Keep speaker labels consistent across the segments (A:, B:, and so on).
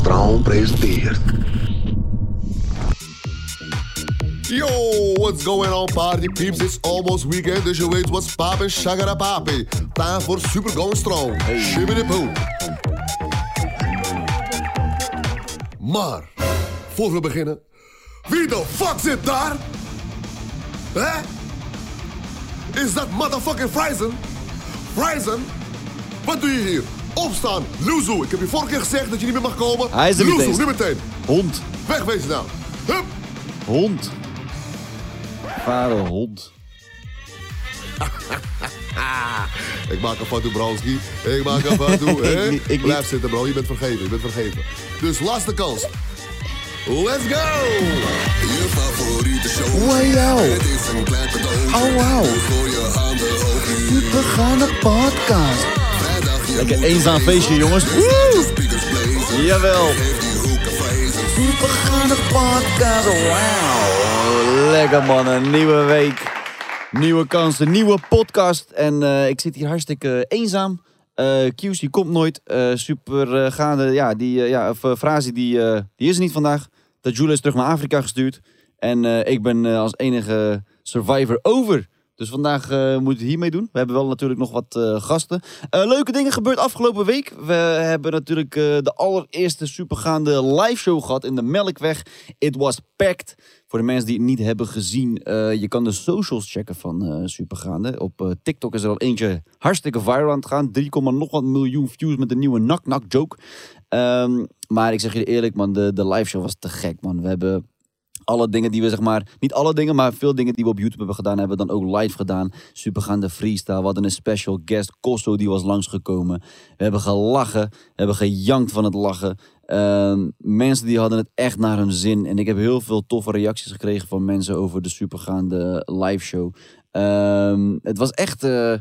A: Straum presenteert.
B: Yo, what's going on party peeps? It's almost weekend, dus je weet what's poppin', shagada papi. Time voor super going strong. Shimmy de poe. Maar, voor we beginnen, wie de fuck zit daar? Hè? Is dat motherfucking Friesen? Friesen? Wat doe je hier? Opstaan, loezoe. Ik heb je vorige keer gezegd dat je niet meer mag komen.
C: Hij is er niet
B: Loezoe,
C: eens.
B: nu meteen.
C: Hond.
B: Wegwezen nou. Hup.
C: Hond. Varen hond.
B: Ik maak een foto, Bronski. Ik maak een foto. hè?
C: Ik niet, ik
B: Blijf
C: niet.
B: zitten, bro. Je bent vergeven. Je bent vergeven. Dus laatste kans. Let's go!
A: Je favoriete show.
C: Wauw.
A: Het is een klein cadeautje.
C: Oh, wauw.
A: Dus gooi je handen hoog nu.
C: We gaan een podcast.
B: Nou.
A: Vrijdag je
C: Lekker
A: moet
C: eenzaam
A: wezen.
C: feestje, jongens.
A: Laat de speakers blazen.
C: Jawel.
A: Geef die hoek een vrezen.
C: We gaan een podcast. Wauw. Lekker man, een nieuwe week. Nieuwe kansen, nieuwe podcast. En eh, ik zit hier hartstikke eenzaam. Eh Q's, die komt nooit. Eh, super eh, gaande, ja, die, eh, ja, of, eh, Frazi, die, eh, die is er niet vandaag. Dat Jules is terug naar Afrika gestuurd. En eh, ik ben eh, als enige survivor over. Dus vandaag eh moet het hiermee doen. We hebben wel natuurlijk nog wat eh, gasten. Eh, leuke dingen gebeurd afgelopen week. We hebben natuurlijk eh, de allereerste supergaande live show gehad in de Melkweg. It was packed. Voor de mensen die het niet hebben gezien, eh, je kan de socials checken van eh, supergaande. Op eh, TikTok is er al eentje hartstikke viral aan het gaan. 3, nog wat miljoen views met de nieuwe Nak Nak joke. Ehm, maar ik zeg je eerlijk, man, de, de live show was te gek, man. We hebben alle dingen die we zeg maar, niet alle dingen, maar veel dingen die we op YouTube hebben gedaan, hebben we dan ook live gedaan. Supergaande freestyle. We hadden een special guest, Kosso, die was langsgekomen. We hebben gelachen, we hebben gejankt van het lachen. Ehm, mensen die hadden het echt naar hun zin. En ik heb heel veel toffe reacties gekregen van mensen over de supergaande live show. Ehm, het was echt, eh, eh,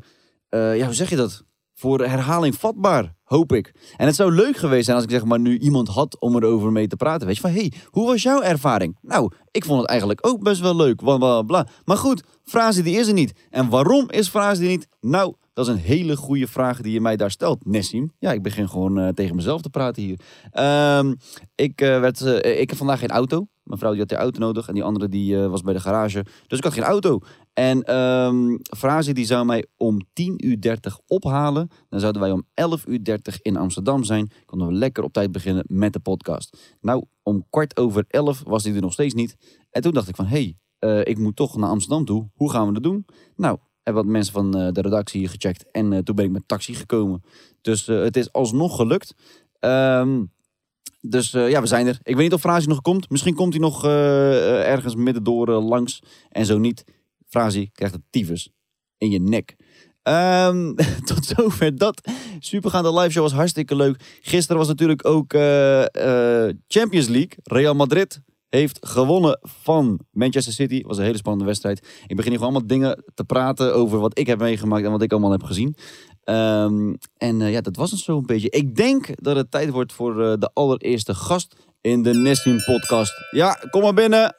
C: ja, hoe zeg je dat? Voor herhaling vatbaar, hoop ik. En het zou leuk geweest zijn als ik zeg maar nu iemand had om erover mee te praten. Weet je, van hey, hoe was jouw ervaring? Nou, ik vond het eigenlijk ook best wel leuk, bla bla bla. Maar goed, Frazi die is er niet. En waarom is Frazi die niet? Nou, dat is een hele goede vraag die je mij daar stelt, Nessim. Ja, ik begin gewoon eh, tegen mezelf te praten hier. Ehm, ik, eh, werd, eh, ik heb vandaag geen auto. Mijn vrouw die had die auto nodig en die andere die eh, was bij de garage. Dus ik had geen auto. En ehm Frazi die zou mij om 10.30 uur ophalen. Dan zouden wij om 11.30 uur in Amsterdam zijn. Konden we lekker op tijd beginnen met de podcast. Nou, om kwart over 11 was die er nog steeds niet. En toen dacht ik van, hé, hey, eh, ik moet toch naar Amsterdam toe. Hoe gaan we dat doen? Nou, hebben wat mensen van eh, de redactie hier gecheckt. En eh, toen ben ik met taxi gekomen. Dus eh, het is alsnog gelukt. Ehm dus eh, ja, we zijn er. Ik weet niet of Frazi nog komt. Misschien komt hij nog eh, eh, ergens middendoor eh, langs. En zo niet. Frazi krijgt het tyfus in je nek. Ehm, tot zover dat. Supergaande live show was hartstikke leuk. Gisteren was natuurlijk ook eh, eh, Champions League. Real Madrid heeft gewonnen van Manchester City. Was een hele spannende wedstrijd. Ik begin hier gewoon allemaal dingen te praten over wat ik heb meegemaakt en wat ik allemaal heb gezien. Ehm, en eh, ja, dat was het zo'n beetje. Ik denk dat het tijd wordt voor eh, de allereerste gast in de Nesting podcast. Ja, kom maar binnen.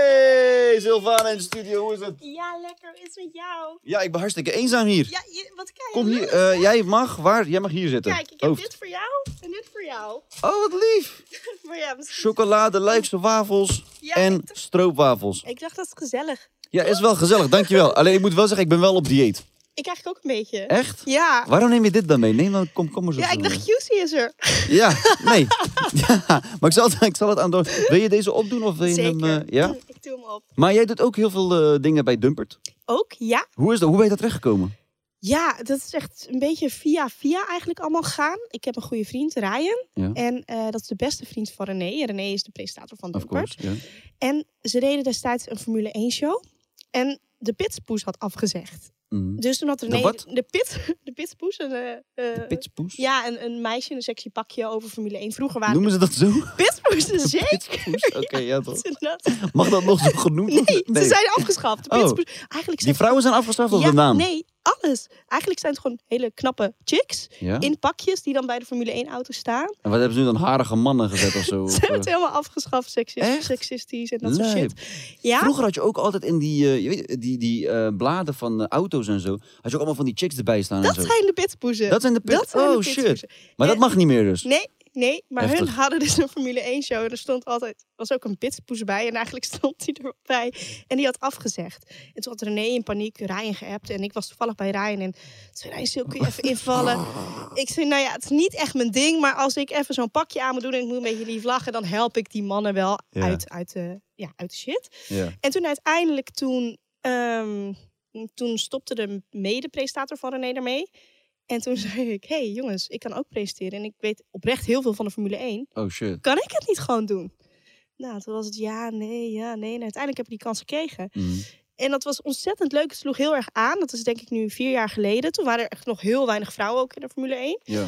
C: Hey, Sylvana in de studio, hoe is het?
D: Ja, lekker is met jou.
C: Ja, ik ben hartstikke eenzaam hier.
D: Ja, je, wat kijk.
C: Kom hier, eh, jij mag, waar? Jij mag hier zitten.
D: Kijk, ik heb
C: Hoofd.
D: dit voor jou en dit voor jou.
C: Oh, wat lief.
D: Maar ja, misschien...
C: Chocolade, Leidse wafels
D: Ja,
C: en
D: ik dacht-
C: stroopwafels.
D: Ik dacht dat is gezellig.
C: Ja, is wel gezellig, dankjewel. Alleen ik moet wel zeggen, ik ben wel op dieet.
D: Ik eigenlijk ook een beetje.
C: Echt?
D: Ja.
C: Waarom neem je dit dan mee? Neem dan komkommers
D: Ja,
C: of zo
D: ik
C: mee.
D: dacht QC is er.
C: Ja, nee. ja, maar ik zal, het- ik zal het aan door. Wil je deze opdoen of wil je
D: Zeker.
C: hem... eh, ja?
D: Ik doe hem op.
C: Maar jij doet ook heel veel eh, dingen bij Dumpert.
D: Ook, ja.
C: Hoe, is dat? Hoe ben je daar terechtgekomen?
D: Ja, dat is echt een beetje via via eigenlijk allemaal gaan. Ik heb een goede vriend, Ryan.
C: Ja.
D: En eh, dat is de beste vriend van René. René is de presentator van
C: Of
D: Dumpert.
C: course. Ja.
D: En ze reden destijds een Formule 1 show. En de pitspoes had afgezegd.
C: Mhm.
D: Dus toen had René...
C: wat?
D: De, pit, de pitspoes. Een, eh, eh,
C: Pitspoes?
D: ja, een, een meisje in een sexy pakje over Formule 1. Vroeger waren
C: Noemen ze dat zo?
D: de pitspoes zeker.
C: Pitspoes? Oké, ja toch.
D: Inderdaad.
C: Mag dat nog zo genoemd
D: Nee,
C: worden?
D: ze zijn afgeschaft. De
C: Oh.
D: pitspoes. Eigenlijk
C: Die
D: zijn
C: vrouwen zijn afgestraft op
D: ja,
C: de naam.
D: Nee, alles. Eigenlijk zijn het gewoon hele knappe chicks
C: Ja?
D: in pakjes die dan bij de Formule 1 auto staan.
C: En wat hebben ze nu dan harige mannen gezet of zo?
D: Ze
C: Of,
D: hebben het
C: eh,
D: helemaal afgeschaft, seksist-
C: Echt?
D: seksistisch en dat soort
C: Lijp.
D: shit. Ja,
C: Vroeger had je ook altijd in die, eh, je weet, die, die eh, bladen van eh, auto's en zo, had je ook allemaal van die chicks erbij staan
D: dat
C: en zo.
D: zijn de pitpoezen.
C: Dat zijn de pit-
D: zijn de
C: oh, shit.
D: pitpoezen.
C: Maar dat
D: Eh,
C: mag niet meer dus.
D: Nee, nee, maar hun
C: Heftig.
D: hadden dus een Formule 1 show. En er stond altijd, was ook een pitpoes bij. En eigenlijk stond die erbij. En die had afgezegd. En toen had René in paniek Ryan geappt. En ik was toevallig bij Ryan. En toen zei Ryan, Sil, kun je even invallen? Ik zei, nou ja, het is niet echt mijn ding. Maar als ik even zo'n pakje aan moet doen en ik moet een beetje lief lachen. Dan help ik die mannen wel
C: Ja.
D: uit, uit, de, ja, uit de shit.
C: Ja.
D: En toen uiteindelijk, toen, ehm, toen stopte de mede-presentator van René daarmee. En toen zei ik, hé hey, jongens, ik kan ook presenteren. En ik weet oprecht heel veel van de Formule 1.
C: Oh shit.
D: Kan ik het niet gewoon doen? Nou, toen was het ja, nee, ja, nee. En uiteindelijk heb ik die kans gekregen.
C: Mhm.
D: En dat was ontzettend leuk. Het sloeg heel erg aan. Dat is denk ik nu vier jaar geleden. Toen waren er echt nog heel weinig vrouwen ook in de Formule 1.
C: Ja.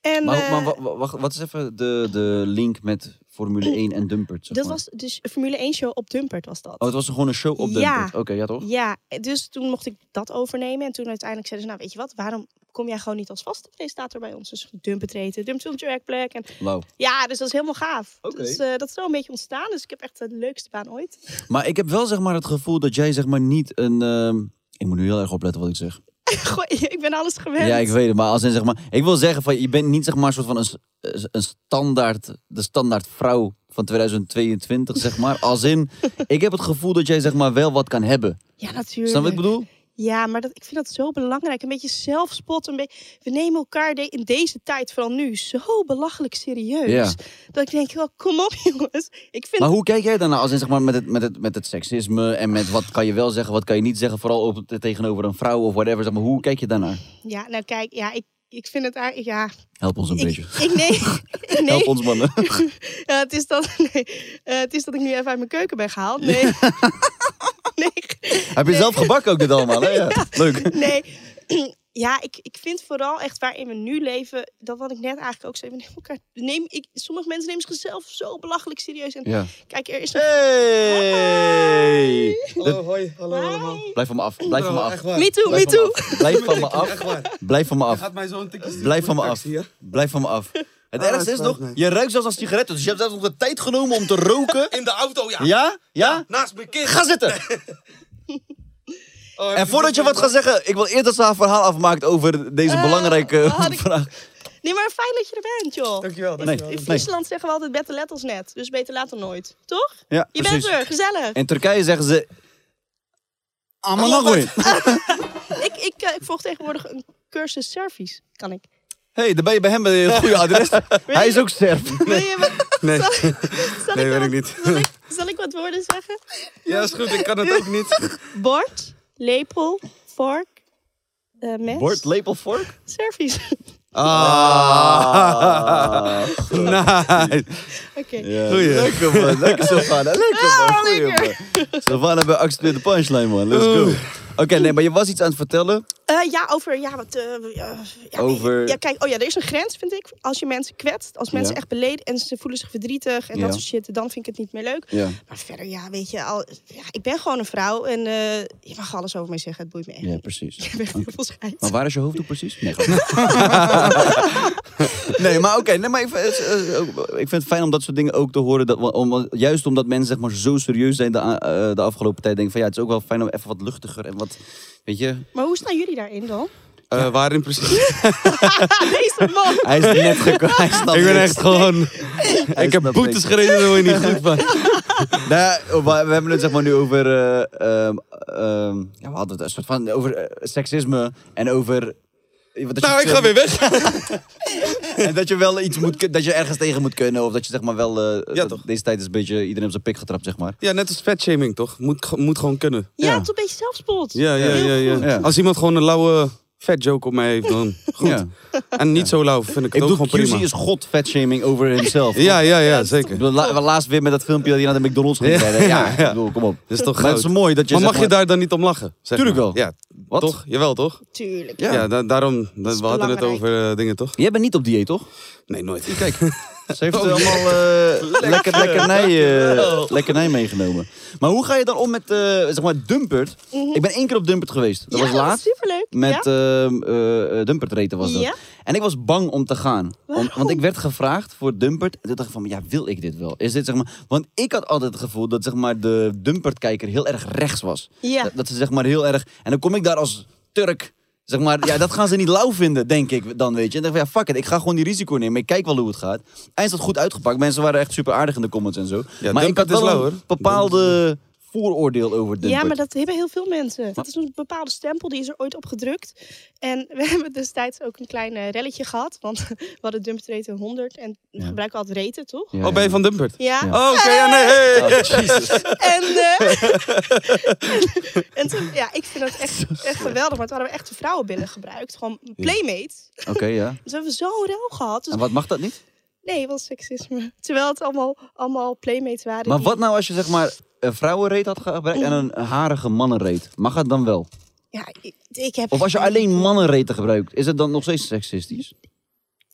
D: En,
C: Maar,
D: eh,
C: maar wa- wa- wacht, wat is even de, de link met Formule 1 en Dumpert? Zeg
D: dat
C: maar?
D: was dus een Formule 1 show op Dumpert was dat.
C: Oh, het was gewoon een show op
D: Ja.
C: Dumpert? Oké, ja toch?
D: Ja, dus toen mocht ik dat overnemen. En toen uiteindelijk zeiden ze, nou weet je wat, waarom kom jij gewoon niet als vaste presentator bij ons? Dus dumpetreten, dump to trackplek. En
C: Wauw.
D: ja, dus dat is helemaal gaaf.
C: Oké.
D: Dus eh, dat is wel een beetje ontstaan. Dus ik heb echt de leukste baan ooit.
C: Maar ik heb wel zeg maar het gevoel dat jij zeg maar niet een... ehm, Ik moet nu heel erg opletten wat ik zeg.
D: Goh, ik ben alles gewend.
C: Ja, ik weet het. Maar als in zeg maar... Ik wil zeggen van, je bent niet zeg maar een soort van een, s- een standaard... De standaard vrouw van 2022 zeg maar. Als in, ik heb het gevoel dat jij zeg maar wel wat kan hebben.
D: Ja, natuurlijk.
C: Snap je wat ik bedoel?
D: Ja, maar dat, ik vind dat zo belangrijk. Een beetje zelfspot. Een beetje, we nemen elkaar de- in deze tijd, vooral nu, zo belachelijk serieus.
C: Ja.
D: Dat ik denk, wel, kom op jongens. Ik vind
C: Maar hoe kijk jij daarna als in, zeg maar, met, het, met, het, met het seksisme en met wat kan je wel zeggen, wat kan je niet zeggen, vooral op, tegenover een vrouw of whatever. Zeg maar, hoe kijk je daarnaar?
D: Ja, nou kijk, ja, ik, ik vind het eigenlijk... Ja,
C: Help ons een
D: ik,
C: beetje.
D: ik nee, ik nee.
C: Help ons mannen.
D: Ja, het, is dat, nee. Eh, het is dat ik nu even uit mijn keuken ben gehaald. Nee. nee.
C: Heb je zelf gebakken ook dit allemaal? Hè? Ja. Leuk.
D: nee. Ja, ik, ik vind vooral echt waarin we nu leven, dat wat ik net eigenlijk ook zei, we nemen elkaar, we nemen, ik, sommige mensen nemen zichzelf zo belachelijk serieus. En
C: Ja.
D: kijk, er is een...
C: Hey!
E: Hallo, Oh, hoi, hallo
D: Hi.
E: allemaal.
C: Blijf van me af. Blijf van me
E: Echt
C: af.
E: waar.
D: Me too, me
C: Blijf van me
D: too.
C: af. Blijf van me
E: Echt
C: af.
E: waar.
C: Blijf van me
E: Je
C: af.
E: gaat mij zo'n tikje sturen
C: Blijf van me
E: voor de
C: af.
E: taxi, hè?
C: Blijf van me af. Het
E: Ah,
C: ergste is
E: spijt
C: nog,
E: me.
C: je ruikt zelfs als sigaretten. Dus je hebt zelfs nog de tijd genomen om te roken.
E: In de auto, ja. Nou,
C: Ja? Ja?
E: Naast mijn kind.
C: Ga zitten!
E: Oh, heb
C: En voordat je wat gaat zeggen, ik wil eerst dat ze haar verhaal afmaakt over deze belangrijke
D: had ik-
C: vraag.
D: Nee, maar fijn dat je er bent, joh.
E: Dankjewel,
C: Nee,
E: dankjewel.
D: In
C: nee.
D: Friesland zeggen we altijd better let als net, dus beter laat dan nooit. Toch?
C: Ja,
D: je
C: precies.
D: bent er, gezellig.
C: In Turkije zeggen ze... Amalagoy.
D: Ik, ik, eh, ik volg tegenwoordig een cursus service, kan ik.
C: Hé, hey, dan ben je bij hem bij het goede adres. Hij is ook Serb.
D: Wil je me-
E: Nee.
D: Zal, zal
E: Nee,
D: ik
E: weet
D: wel-
E: ik niet.
D: Zal ik, zal ik wat woorden zeggen?
E: Ja, is goed, ik kan het ook niet.
D: Bord, lepel, vork, eh, mes,
C: Bord, lepel, vork?
D: servies.
C: Ah.
E: Nice.
D: Oké.
C: Goeie. Eh, Lekker man, lekker Sylvana. Lekker man, goeie man. Sylvana bij Accepteer de Punchline man, let's go. Oké, nee, maar je was iets aan het vertellen.
D: Eh, ja, over... Ja, wat, eh, eh, ja, nee.
C: Over-
D: Ja, kijk, oh ja, er is een grens, vind ik. Als je mensen kwetst, als mensen
C: Ja.
D: echt beleden en ze voelen zich verdrietig en
C: Ja.
D: dat soort shit, dan vind ik het niet meer leuk.
C: Ja.
D: Maar verder, ja, weet je, al, ja, ik ben gewoon een vrouw en eh, je mag alles over mij zeggen, het boeit me echt.
C: Ja,
D: niet.
C: precies.
D: Ik heb echt heel veel schijt.
C: Maar waar is je hoofddoek precies? Nee, nee maar oké. nee, maar ik, vind- eh, eh, ik vind het fijn om dat soort dingen ook te horen. Dat, om, juist omdat mensen zeg maar, zo serieus zijn de, eh, de afgelopen tijd. Denken van ja, het is ook wel fijn om even wat luchtiger en wat... Weet je?
D: Maar hoe staan jullie daarin dan?
E: Eh, waarin precies?
D: Ah, deze man!
C: Hij is net gekomen. Hij snapt
E: Ik ben
C: niks.
E: echt gewoon...
C: Hij
E: Ik heb
C: snapt
E: boetes
C: niks.
E: gereden, daar word je niet goed van.
C: Nou, we, we hebben het zeg maar nu over eh, ehm, ehm, ja, we hadden het een soort van over eh, seksisme en over... eh, wat dat
E: Nou,
C: je-
E: ik ga weer weg.
C: En dat je wel iets moet, kun- dat je ergens tegen moet kunnen. Of dat je zeg maar wel, eh,
E: Ja,
C: dat-
E: toch.
C: deze tijd is een beetje iedereen op zijn pik getrapt, zeg maar.
E: Ja, net als fatshaming, toch? Moet, ge- moet gewoon kunnen.
D: Ja,
C: Ja.
D: het is een beetje zelfspot.
E: Ja, ja,
D: Heel
E: ja, ja,
D: goed.
C: Ja.
E: Als iemand gewoon een lauwe fat joke op mij heeft, dan goed.
C: Ja.
E: En niet zo lauw vind ik
C: Ik
E: het ook
C: bedoel,
E: gewoon
C: QC
E: prima.
C: is god fatshaming over himself.
E: Ja, ja, ja,
C: Ik
E: zeker.
C: bedoel, la- laatst weer met dat filmpje dat hij naar de McDonald's ging. rennen. Ja,
E: ja.
C: ik bedoel, kom op.
E: Dat is toch
C: Maar het
E: goud.
C: is mooi dat je,
E: Maar
C: zeg
E: mag je
C: maar-
E: daar dan niet om lachen? Zeg
C: Tuurlijk
E: maar.
C: wel.
E: Ja,
C: Wat?
E: toch? Jawel, toch?
D: Tuurlijk.
E: Ja, da- daarom. dat- we hadden het
D: belangrijk.
E: over eh, dingen, toch?
C: Jij bent niet op dieet, toch?
E: Nee, nooit.
C: Kijk, ze heeft allemaal eh Oh, lekker, lekkernij, eh, lekkernij meegenomen. Maar hoe ga je dan om met, eh, zeg maar, Dumpert? Ik ben één keer op Dumpert geweest. Dat
D: Mhm. Ja,
C: was laatst.
D: superleuk.
C: Met
D: ja?
C: ehm, eh, eh, Dumpert reten was dat.
D: Ja.
C: En ik was bang om te gaan. Om- want ik werd gevraagd voor Dumpert. En toen dacht ik van, ja, wil ik dit wel? Is dit, zeg maar, want ik had altijd het gevoel dat zeg maar, de Dumpert-kijker heel erg rechts was.
D: Ja.
C: Dat, dat ze zeg maar heel erg... En dan kom ik daar als Turk... Zeg maar, ja, dat gaan ze niet lauw vinden, denk ik dan, weet je. En dan dacht ik van, ja, fuck it, ik ga gewoon die risico nemen. Ik kijk wel hoe het gaat. Eind had goed uitgepakt. Mensen waren echt super aardig in de comments en zo. maar ik
E: Dumpert
C: had
E: is
C: wel
E: lauw,
C: een
E: hoor.
C: bepaalde vooroordeel over Dumpert.
D: ja, maar dat hebben heel veel mensen. Dat is een bepaalde stempel, die is er ooit op gedrukt. En we hebben destijds ook een klein eh, relletje gehad. Want we hadden Dump Reten 100 en we gebruiken altijd reten, toch?
C: Ja,
E: Oh, ben je van Dumpert?
D: Ja.
E: Oh, oké, ja, nee, hey.
C: ja. Oh, Jezus.
D: En, eh, en toen, ja, ik vind dat echt, echt geweldig. Maar toen hadden we echt de vrouwenbillen gebruikt. Gewoon playmate.
C: Oké, ja.
D: Dus we hebben zo'n rel gehad. Dus
C: En wat mag dat niet?
D: nee, wel seksisme. Terwijl het allemaal, allemaal playmates waren.
C: Maar
D: die-
C: wat nou als je zeg maar een vrouwenreet had gebruikt en een harige mannenreet? Mag het dan wel?
D: Ja, ik, ik heb...
C: Of als je alleen mannenreten gebruikt, is het dan nog steeds seksistisch?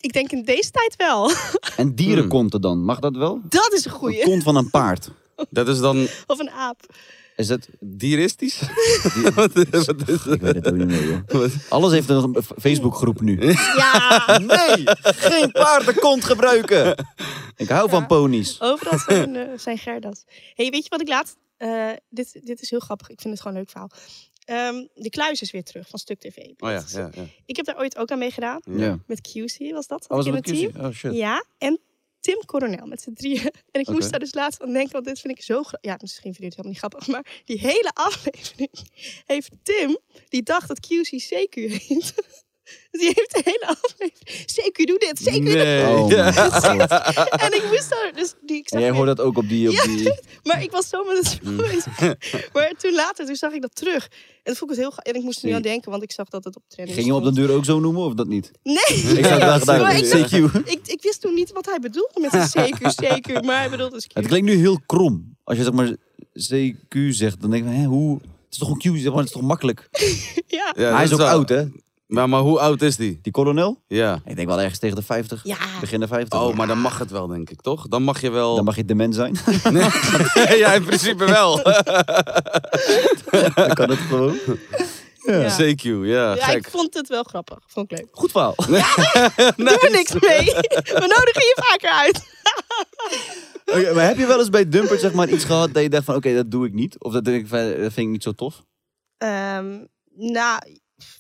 D: Ik denk in deze tijd wel.
C: En dierenkonten dan, mag dat wel?
D: Dat is een
C: Een
D: goeie.
C: Hmm. kont van een paard.
E: Dat is dan oh
D: Of een aap.
C: Is het?
E: dieristisch? Wat is- wat is-
C: Ik weet het ook niet meer, joh. Alles heeft een Facebookgroep nu.
D: Ja,
C: Nee, geen paardenkont gebruiken. Ik hou van ponies.
D: overal zijn, eh, zijn Gerdas. hey, weet je wat ik laatst... eh, dit, dit is heel grappig. Ik vind het gewoon een leuk verhaal. Ehm, de kluis is weer terug van Stuk TV.
E: Oh ja, ja, ja.
D: Ik heb daar ooit ook aan meegedaan.
C: Ja.
D: Met QC was dat.
C: Alles
D: in
C: met
D: het team.
C: QC? Oh shit.
D: Ja, en Tim Coronel met z'n drieën. En ik
C: Oké.
D: moest daar dus laatst aan denken, want dit vind ik zo grappig. Ja, misschien vind je het helemaal niet grappig, maar die hele aflevering heeft Tim, die dacht dat QC CQ heet. Dus die heeft de hele aflevering. CQ doe dit, CQ doe dat.
E: Nee.
C: Oh, mijn God.
D: En ik moest daar dus die. Ik zag
C: En jij
D: weer-
C: hoort dat ook op die... Op die... Hmm.
D: maar ik was zo met het spel bezig. Maar toen later, toen zag ik dat terug. En dat vond ik het heel. ga- En ik moest er nu aan denken, want ik zag dat het op trending
C: Ging je hem op de
D: stond.
C: duur ook zo noemen of dat niet?
D: Nee.
C: Ik zou het wel gedaan
D: Maar ik dacht-
C: hebben. CQ.
D: Ik, ik wist toen niet wat hij bedoelde met een CQ, CQ. Maar hij bedoelde dus
C: Het
D: QC.
C: klinkt nu heel krom. Als je zeg maar CQ zegt, dan denk ik, van, hè, hoe? Het is toch een Q, zeg maar, het is toch makkelijk?
D: Ja.
E: Ja,
C: hij is
E: dat
C: ook
E: wel-
C: oud, hè?
E: Maar, maar hoe oud is die?
C: Die kolonel?
E: Ja.
C: Ik denk wel ergens tegen de 50.
D: Ja.
C: Begin de 50.
E: Oh, maar dan mag het wel, denk ik, toch? Dan mag je wel...
C: Dan mag je dement zijn.
E: ja, in principe wel.
C: dan kan het gewoon.
D: Ja.
E: CQ, ja,
D: Ja,
E: gek.
D: ik vond het wel grappig. Vond ik leuk.
C: Goed verhaal.
D: Doe er niks mee. We nodigen je vaker uit.
C: Oké, maar heb je wel eens bij Dumpert zeg maar, iets gehad dat je dacht van, oké, dat doe ik niet? Of dat, denk ik, van, dat vind ik niet zo tof?
D: Ehm, nou,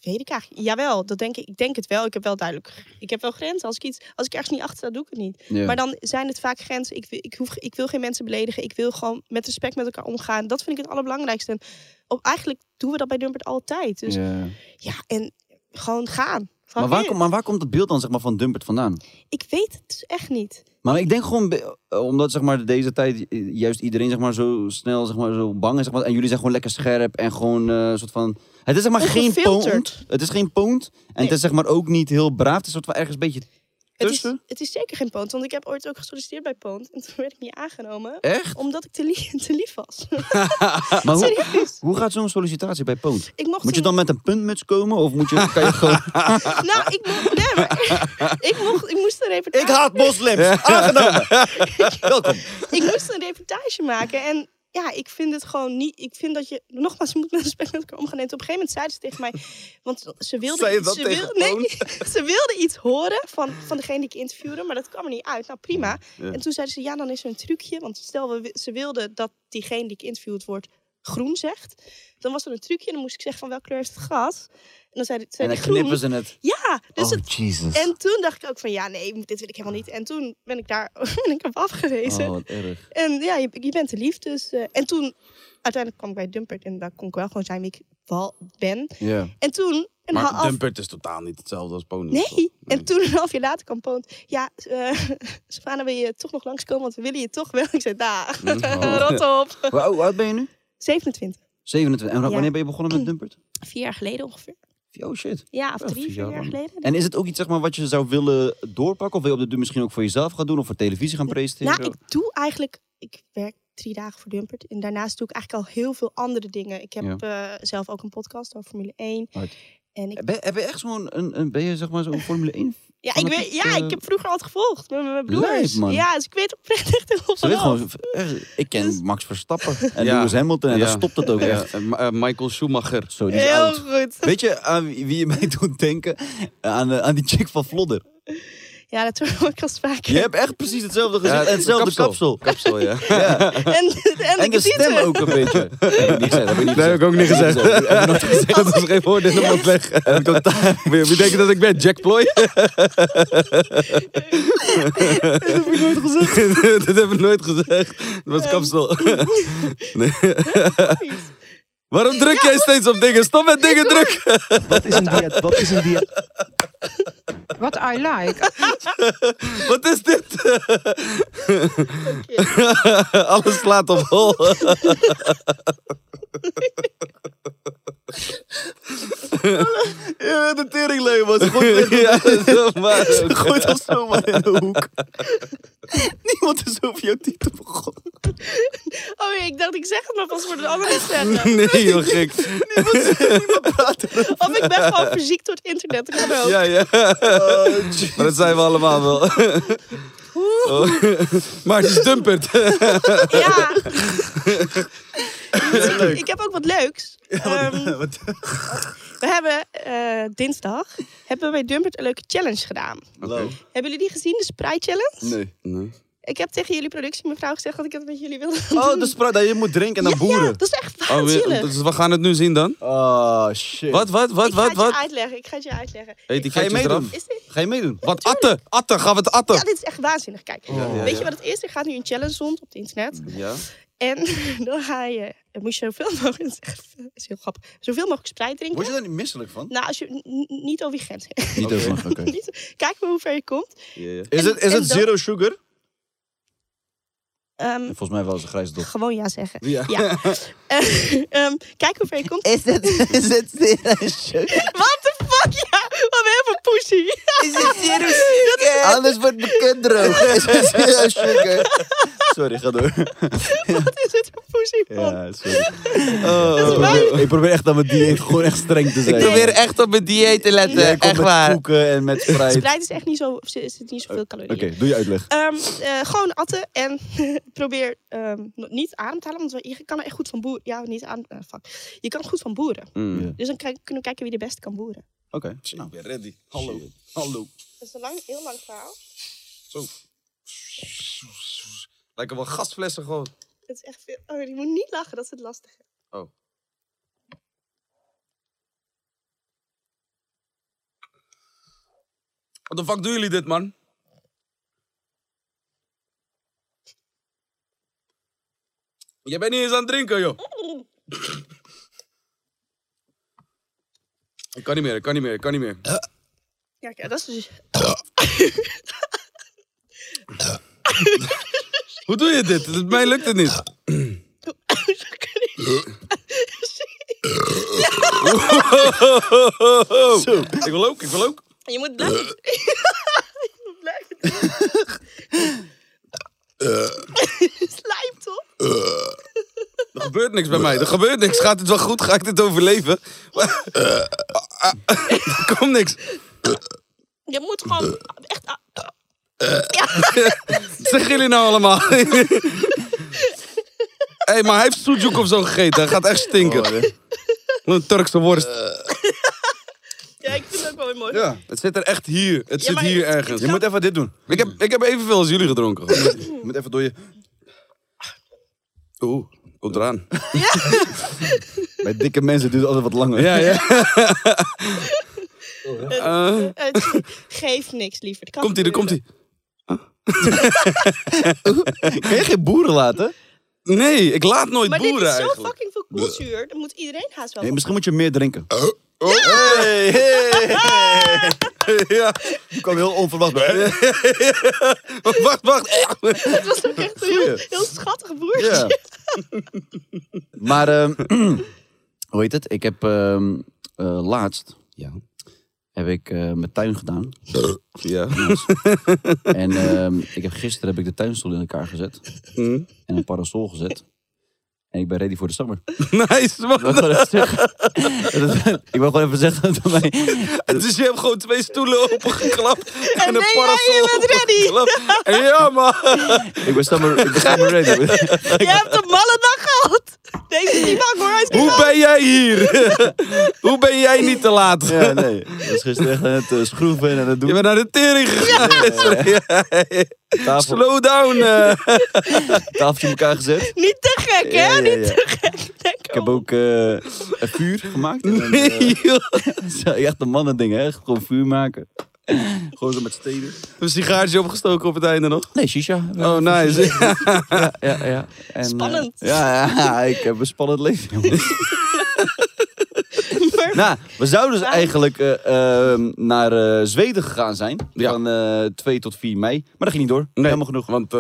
D: weet ik eigenlijk. Jawel, dat denk ik. Ik denk het wel. Ik heb wel duidelijk. Ik heb wel grenzen. Als ik, iets, als ik ergens niet achter sta, doe ik het niet.
C: Ja.
D: Maar dan zijn het vaak grenzen. Ik, wil- ik, hoef, ik wil geen mensen beledigen. Ik wil gewoon met respect met elkaar omgaan. Dat vind ik het allerbelangrijkste. En op, eigenlijk doen we dat bij Dumpert altijd. Dus ja,
C: Ja.
D: en gewoon gaan.
C: Maar,
D: Gewoon
C: waar,
D: in.
C: komt- maar waar komt dat beeld dan zeg maar, van Dumpert vandaan?
D: Ik weet het dus echt niet.
C: Maar ik denk gewoon, be- eh, omdat zeg maar, deze tijd eh, juist iedereen zeg maar, zo snel zeg maar, zo bang is. Zeg maar, en jullie zijn gewoon lekker scherp en gewoon eh, een soort van... Het is zeg maar geen
D: Ongefilterd.
C: poont. Het is geen poont. En het is zeg maar ook niet heel braaf. Het is soort van ergens een beetje
D: Het is,
C: tussen.
D: het is zeker geen Poont, want ik heb ooit ook gesolliciteerd bij Poont. En toen werd ik niet aangenomen.
C: Echt?
D: Omdat ik te, lie- te lief was. Oh,
C: Maar hoe,
D: Serieus.
C: hoe gaat zo'n sollicitatie bij poont?
D: Ik mocht
C: Moet je
D: toen-
C: dan met een puntmuts komen? Of moet je, kan je gewoon...
D: Nou, ik mocht... Nee, maar, ik, mocht, ik moest een reportage...
C: ik haat moslims! Aangenomen! Welkom.
D: ik moest een reportage maken en ja, ik vind het gewoon niet. Ik vind dat je nogmaals je moet met respect met elkaar omgaan. En toen op een gegeven moment zeiden ze tegen mij, want ze wilde,
E: Zei je
D: iets-
E: dat
D: ze,
E: tegen
D: wil- nee, ze wilde iets horen van, van degene die ik interviewde, maar dat kwam er niet uit. Nou prima. En toen zeiden ze ja, dan is er een trucje, want stel we, ze wilden dat diegene die ik interviewd wordt groen zegt, dan was er een trucje en dan moest ik zeggen van welke kleur heeft het gas. En dan zei, zei
C: En
D: die
C: dan
D: groen.
C: knippen ze het.
D: Ja, dus
C: oh,
D: het
C: Jesus.
D: en toen dacht ik ook van ja, nee, dit wil ik helemaal niet. En toen ben ik daar ben ik op afgewezen.
C: Oh, wat erg.
D: En ja, je, je bent te lief. Dus, eh, en toen uiteindelijk kwam ik bij Dumpert en daar kon ik wel gewoon zijn wie ik wel ben.
C: Ja.
D: En toen een
E: Maar
D: half
E: Dumpert is totaal niet hetzelfde als pony.
D: Nee.
C: Oh,
E: toch?
D: En toen een half jaar later kwam Poont. Ja, eh Savannah, wil je toch nog langskomen? Want we willen je toch wel. Ik zei, daar, Eh, rot op.
C: Oh. Hoe oud- hoe oud ben je nu?
D: 27.
C: 27. En
D: Ja.
C: wanneer ben je begonnen met Dumpert?
D: Vier jaar geleden ongeveer.
C: Oh shit.
D: Ja, of
C: Ja,
D: drie,
C: vier
D: vier,
C: jaar
D: jaar
C: lang.
D: geleden.
C: En is het ook iets zeg maar, wat je zou willen doorpakken? Of wil je op de duur misschien ook voor jezelf gaan doen? Of voor televisie gaan presenteren?
D: Nou, ik doe eigenlijk... Ik werk drie dagen voor Dumpert. En daarnaast doe ik eigenlijk al heel veel andere dingen. Ik heb eh, zelf ook een podcast over Formule 1.
C: Right.
D: En ik,
C: Ben, heb je echt zo'n... Een, een, ben je zeg maar zo'n Formule 1?
D: ja, ik,
C: fanatiek,
D: weet, ja
C: eh,
D: ik heb vroeger altijd gevolgd met mijn- mijn
C: Lijp,
D: broers.
C: man.
D: ja, dus ik weet oprecht echt heel veel
C: Ze weet
D: van.
C: gewoon, echt, ik ken
D: Dus-
C: Max Verstappen en
E: Ja.
C: Lewis Hamilton en
E: Ja.
C: daar stopt het ook
E: Ja,
C: echt.
E: eh, Ma- eh, Michael Schumacher.
C: Zo, die is
D: Heel
C: oud.
D: goed.
C: Weet je aan wie wie je mij doet denken? Aan, eh, aan die chick van Vlodder.
D: Ja, dat hoor ik al vaak.
C: Je hebt echt precies hetzelfde gezicht en hetzelfde kapsel.
E: Kapsel, ja.
D: En, en,
C: En de stem ook een beetje. Dat heb ik niet gezegd. Dat heb ik niet
E: Dat heb ik ook niet gezegd. Dat was geen woord in de mond weg. Wie wie denk je dat ik ben? Jack Ploy? dat heb ik nooit gezegd. dat heb ik nooit gezegd. Dat was kapsel. Nee. Waarom druk jij steeds op dingen? Stop met dingen drukken.
F: Wat is een diët? Wat is een diët?
G: What I like.
E: Wat is dit? Alles slaat op hol.
C: Ja, de teringleeuw was goed.
E: ja, zo maar.
C: Gooi dat zomaar in de hoek. Niemand is over jouw titel begonnen.
D: Oh nee, ik dacht ik zeg het maar vast voor de anderen zeggen.
E: Nee, joh, gek.
D: Of ik ben gewoon verziekt door het internet. Ik kan ook.
E: Ja, ja.
C: Oh,
E: maar dat zijn we allemaal wel. Oh. Maar het is dumpert.
D: Ja. Dus ik, ik heb ook wat leuks. Ehm,
C: wat-
D: we hebben eh, dinsdag hebben we bij Dumpert een leuke challenge gedaan. Hebben jullie die gezien, de Spray Challenge?
C: Nee.
D: Ik heb tegen jullie productiemevrouw gezegd dat ik dat met jullie wilde
C: Oh,
D: doen.
C: de spruit. Je moet drinken en
D: ja,
C: dan
D: ja,
C: boeren.
D: dat is echt
E: Oh, we,
D: waanzinnig.
E: dus we gaan het nu zien dan.
C: Oh, shit.
E: Wat, wat, wat,
D: ik ga
E: wat,
D: het je
E: wat?
D: uitleggen. Ik ga het je uitleggen.
E: Heet die
C: Ga je
E: geitjes eraf?
C: meedoen?
D: Is dit...
C: Ga je meedoen?
E: Wat? Atten! Atten, gaan we het
D: Ja,
E: atten?
D: dit is echt waanzinnig. Kijk,
E: ja,
D: weet
E: ja.
D: je wat het is? Er gaat nu een challenge rond op het internet.
E: Ja.
D: En dan ga je, dan moet je zoveel mogelijk, dat is echt- dat is heel grappig, zoveel mogelijk spreid drinken.
C: Word je daar niet misselijk van?
D: Nou, als je n- n- niet over je grens heen.
C: Niet over. Oké.
D: Niet- Kijk maar hoe ver je komt.
C: Is het, is
D: en
C: het
D: dan-
C: zero sugar?
D: Ehm,
C: Volgens mij wel eens een grijze dop.
D: gewoon ja zeggen.
E: Ja.
D: Eh, ehm, kijk hoe ver je komt.
C: Is het, is het zero sugar?
D: What the fuck? Ja, wat ben je voor pussy?
C: Is het zero sugar? Alles wordt bekend droog. Is het zero sugar? Sorry, ga door. Oh.
D: Wat is het voor pussy, man?
C: Ja, sorry. ik, probeer, ik probeer echt aan mijn dieet gewoon echt streng te zijn.
E: Ik probeer echt op mijn dieet te letten,
C: Jij komt
E: echt
C: met
E: waar.
C: koeken en met spruit. Oké,
D: Spreid is echt niet zo, is het niet zoveel calorieën.
C: doe je uitleg.
D: Ehm, eh, gewoon atten en probeer ehm, n- niet adem te halen, want je kan er echt goed van boeren. Ja, niet aan. eh, fuck. Je kan goed van boeren.
E: Mm.
C: Ja.
D: Dus dan kijk- kunnen we kijken wie de beste kan boeren.
C: Oké. Nou.
E: Ik ben ready.
C: Hallo. Hallo.
D: Dat is een lang, heel lang verhaal.
E: Lijken wel gasflessen gewoon.
D: Het is echt veel. Oh, je moet niet lachen, dat is het lastige.
E: Oh. Wat de fuck doen jullie dit, man? Jij bent niet eens aan het drinken, joh. Ik kan niet meer, ik kan niet meer, ik kan niet meer.
D: Ja, kijk, dat is dus...
E: Hoe doe je dit? Het- Mij lukt het niet.
D: Zo kan ik-
E: Zo. Ik wil ook, ik wil ook.
D: je moet blijven...
E: Eh.
D: je moet blijven...
E: Eh.
D: Slijm, toch?
E: Er gebeurt niks bij mij. Er gebeurt niks. Gaat het wel goed? Ga ik dit overleven? Er komt niks.
D: Je moet gewoon echt...
E: Wat zeggen jullie nou allemaal? hey, maar hij heeft soejoek of zo gegeten. Hij gaat echt stinken.
C: Oh,
E: Wat een Turkse worst.
D: Eh. Ja, ik vind het ook wel weer mooi.
E: ja. Het zit er echt hier. Het
D: Ja,
E: zit
D: maar
E: hier
D: het-
E: ergens.
C: Je moet even dit doen.
E: Ik, heb, ik heb evenveel als jullie gedronken.
C: Je moet even door je...
E: Oeh. Komt eraan.
C: Bij dikke mensen duurt het altijd wat langer.
E: Ja, ja.
D: Eh, Het geeft niks, liever. Het kan
E: Komt-ie, daar komt
D: gebeuren.
E: hij.
C: Kun je geen boeren laten?
E: Nee, ik laat nooit
D: Maar dit
E: boeren
D: is zo
E: eigenlijk.
D: fucking veel koelzuur. Dan moet iedereen haast wel.
C: Nee, misschien moet je meer
E: Oh.
C: drinken.
E: Hey, hey. ja.
C: Ik kwam heel onverwacht bij.
E: Wacht, wacht.
D: Het was ook echt een heel, heel schattig boertje.
C: Ja. Maar, ehm, hoe heet het? Ik heb ehm, eh, laatst
E: Ja.
C: heb ik, eh, mijn tuin gedaan.
E: Ja.
C: En ehm, ik heb, gisteren heb ik de tuinstoel in elkaar gezet.
E: Hm?
C: En een parasol gezet. En ik ben ready voor de summer.
E: Nice,
C: Ik wil
E: man.
C: gewoon even zeggen, ik wil gewoon even zeggen dat bij mij...
E: Dus je hebt gewoon twee stoelen opengeklapt. En,
D: ben
E: een
D: jij,
E: parasol
D: je bent ready.
E: opengeklapt. En ja, man.
C: Ik ben summer, ik ben summer ready.
D: Je hebt een malle dag gehad. Deze is niet bang hoor. Hij is niet
E: Hoe
D: bang.
E: ben jij hier? Hoe ben jij niet te laat?
C: Ja, nee. Ik was gisteren echt aan het eh, schroeven en aan het doen.
E: Je bent naar de tering gegaan.
C: tafel,
E: Slow down. eh.
C: tafeltje in elkaar gezet.
D: Niet te gek, hè?
C: Ja, ja, ja.
D: Niet te gek. Denk
C: Ik heb ook eh, een vuur gemaakt. En dan, eh,
E: Nee, joh.
C: Zo, echt een mannending, hè? Gewoon vuur maken. Gewoon zo met steden.
E: Een sigaartje opgestoken op het einde nog.
C: Nee, shisha.
E: Oh, nice.
C: Ja, ja. En, eh,
D: Spannend.
C: ja, ja, ik heb een spannend leven, jongens.
D: Maar-
C: nou, we zouden dus eigenlijk eh, ehm, naar eh, Zweden gegaan zijn.
E: Ja.
C: Van eh 2 tot 4 mei. Maar dat ging niet door. Helemaal genoeg.
E: Want eh,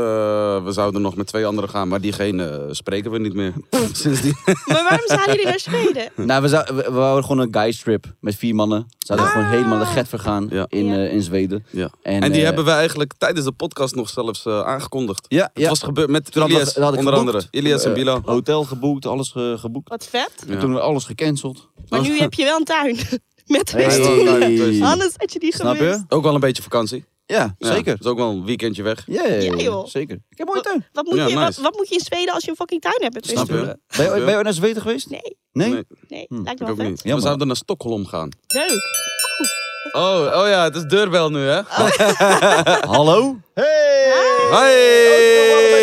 E: we zouden nog met twee anderen gaan, maar diegene eh, spreken we niet meer. Sindsdien.
D: Maar waarom zijn jullie naar Zweden?
E: Hm.
C: Nou, we, zou, we, we wouden gewoon een guys trip met vier mannen. Zouden we gewoon helemaal de get vergaan
E: Ja.
C: in,
D: Ah. Ja.
C: eh, in Zweden.
E: Ja. En,
C: En,
E: die
C: eh,
E: hebben we eigenlijk tijdens de podcast nog zelfs eh, aangekondigd.
C: Ja,
E: Het
C: ja.
E: was gebeurd met
C: Toen had
E: Ilias,
C: dat- dat had ik
E: onder
C: geboekt.
E: andere. Ilias en
C: Eh,
E: Bilal.
C: Hotel geboekt, alles eh, geboekt.
D: Wat vet.
C: En toen we alles gecanceld.
D: Maar nu heb je wel een tuin. Met twee
C: Hey.
D: stoelen.
C: Hey.
D: Anders had je die
C: Snap
D: geweest.
C: je?
E: Ook wel een beetje vakantie.
C: Ja,
E: Ja,
C: zeker.
E: Het is ook wel een weekendje weg.
C: Ja, ja, ja,
D: Ja, joh.
C: zeker. Ik heb eh, mooi tuin.
D: Wat moet,
E: Ja,
D: je,
E: nice.
D: wat, wat moet je in Zweden als je een fucking tuin hebt? met twee
E: Snap
D: stoelen?
E: je?
C: eh, Ben je, ooit- ben je ooit naar Zweden geweest?
D: Nee,
C: Nee?
E: Nee.
D: nee. lijkt me
E: Hm, Ik
D: wel
E: ook
D: vet.
E: niet.
C: Jammer.
E: We zouden naar Stockholm gaan.
D: Leuk.
E: Oh, oh ja, het is deurbel nu, hè?
C: Ah. Hallo? Hey!
E: Hoi!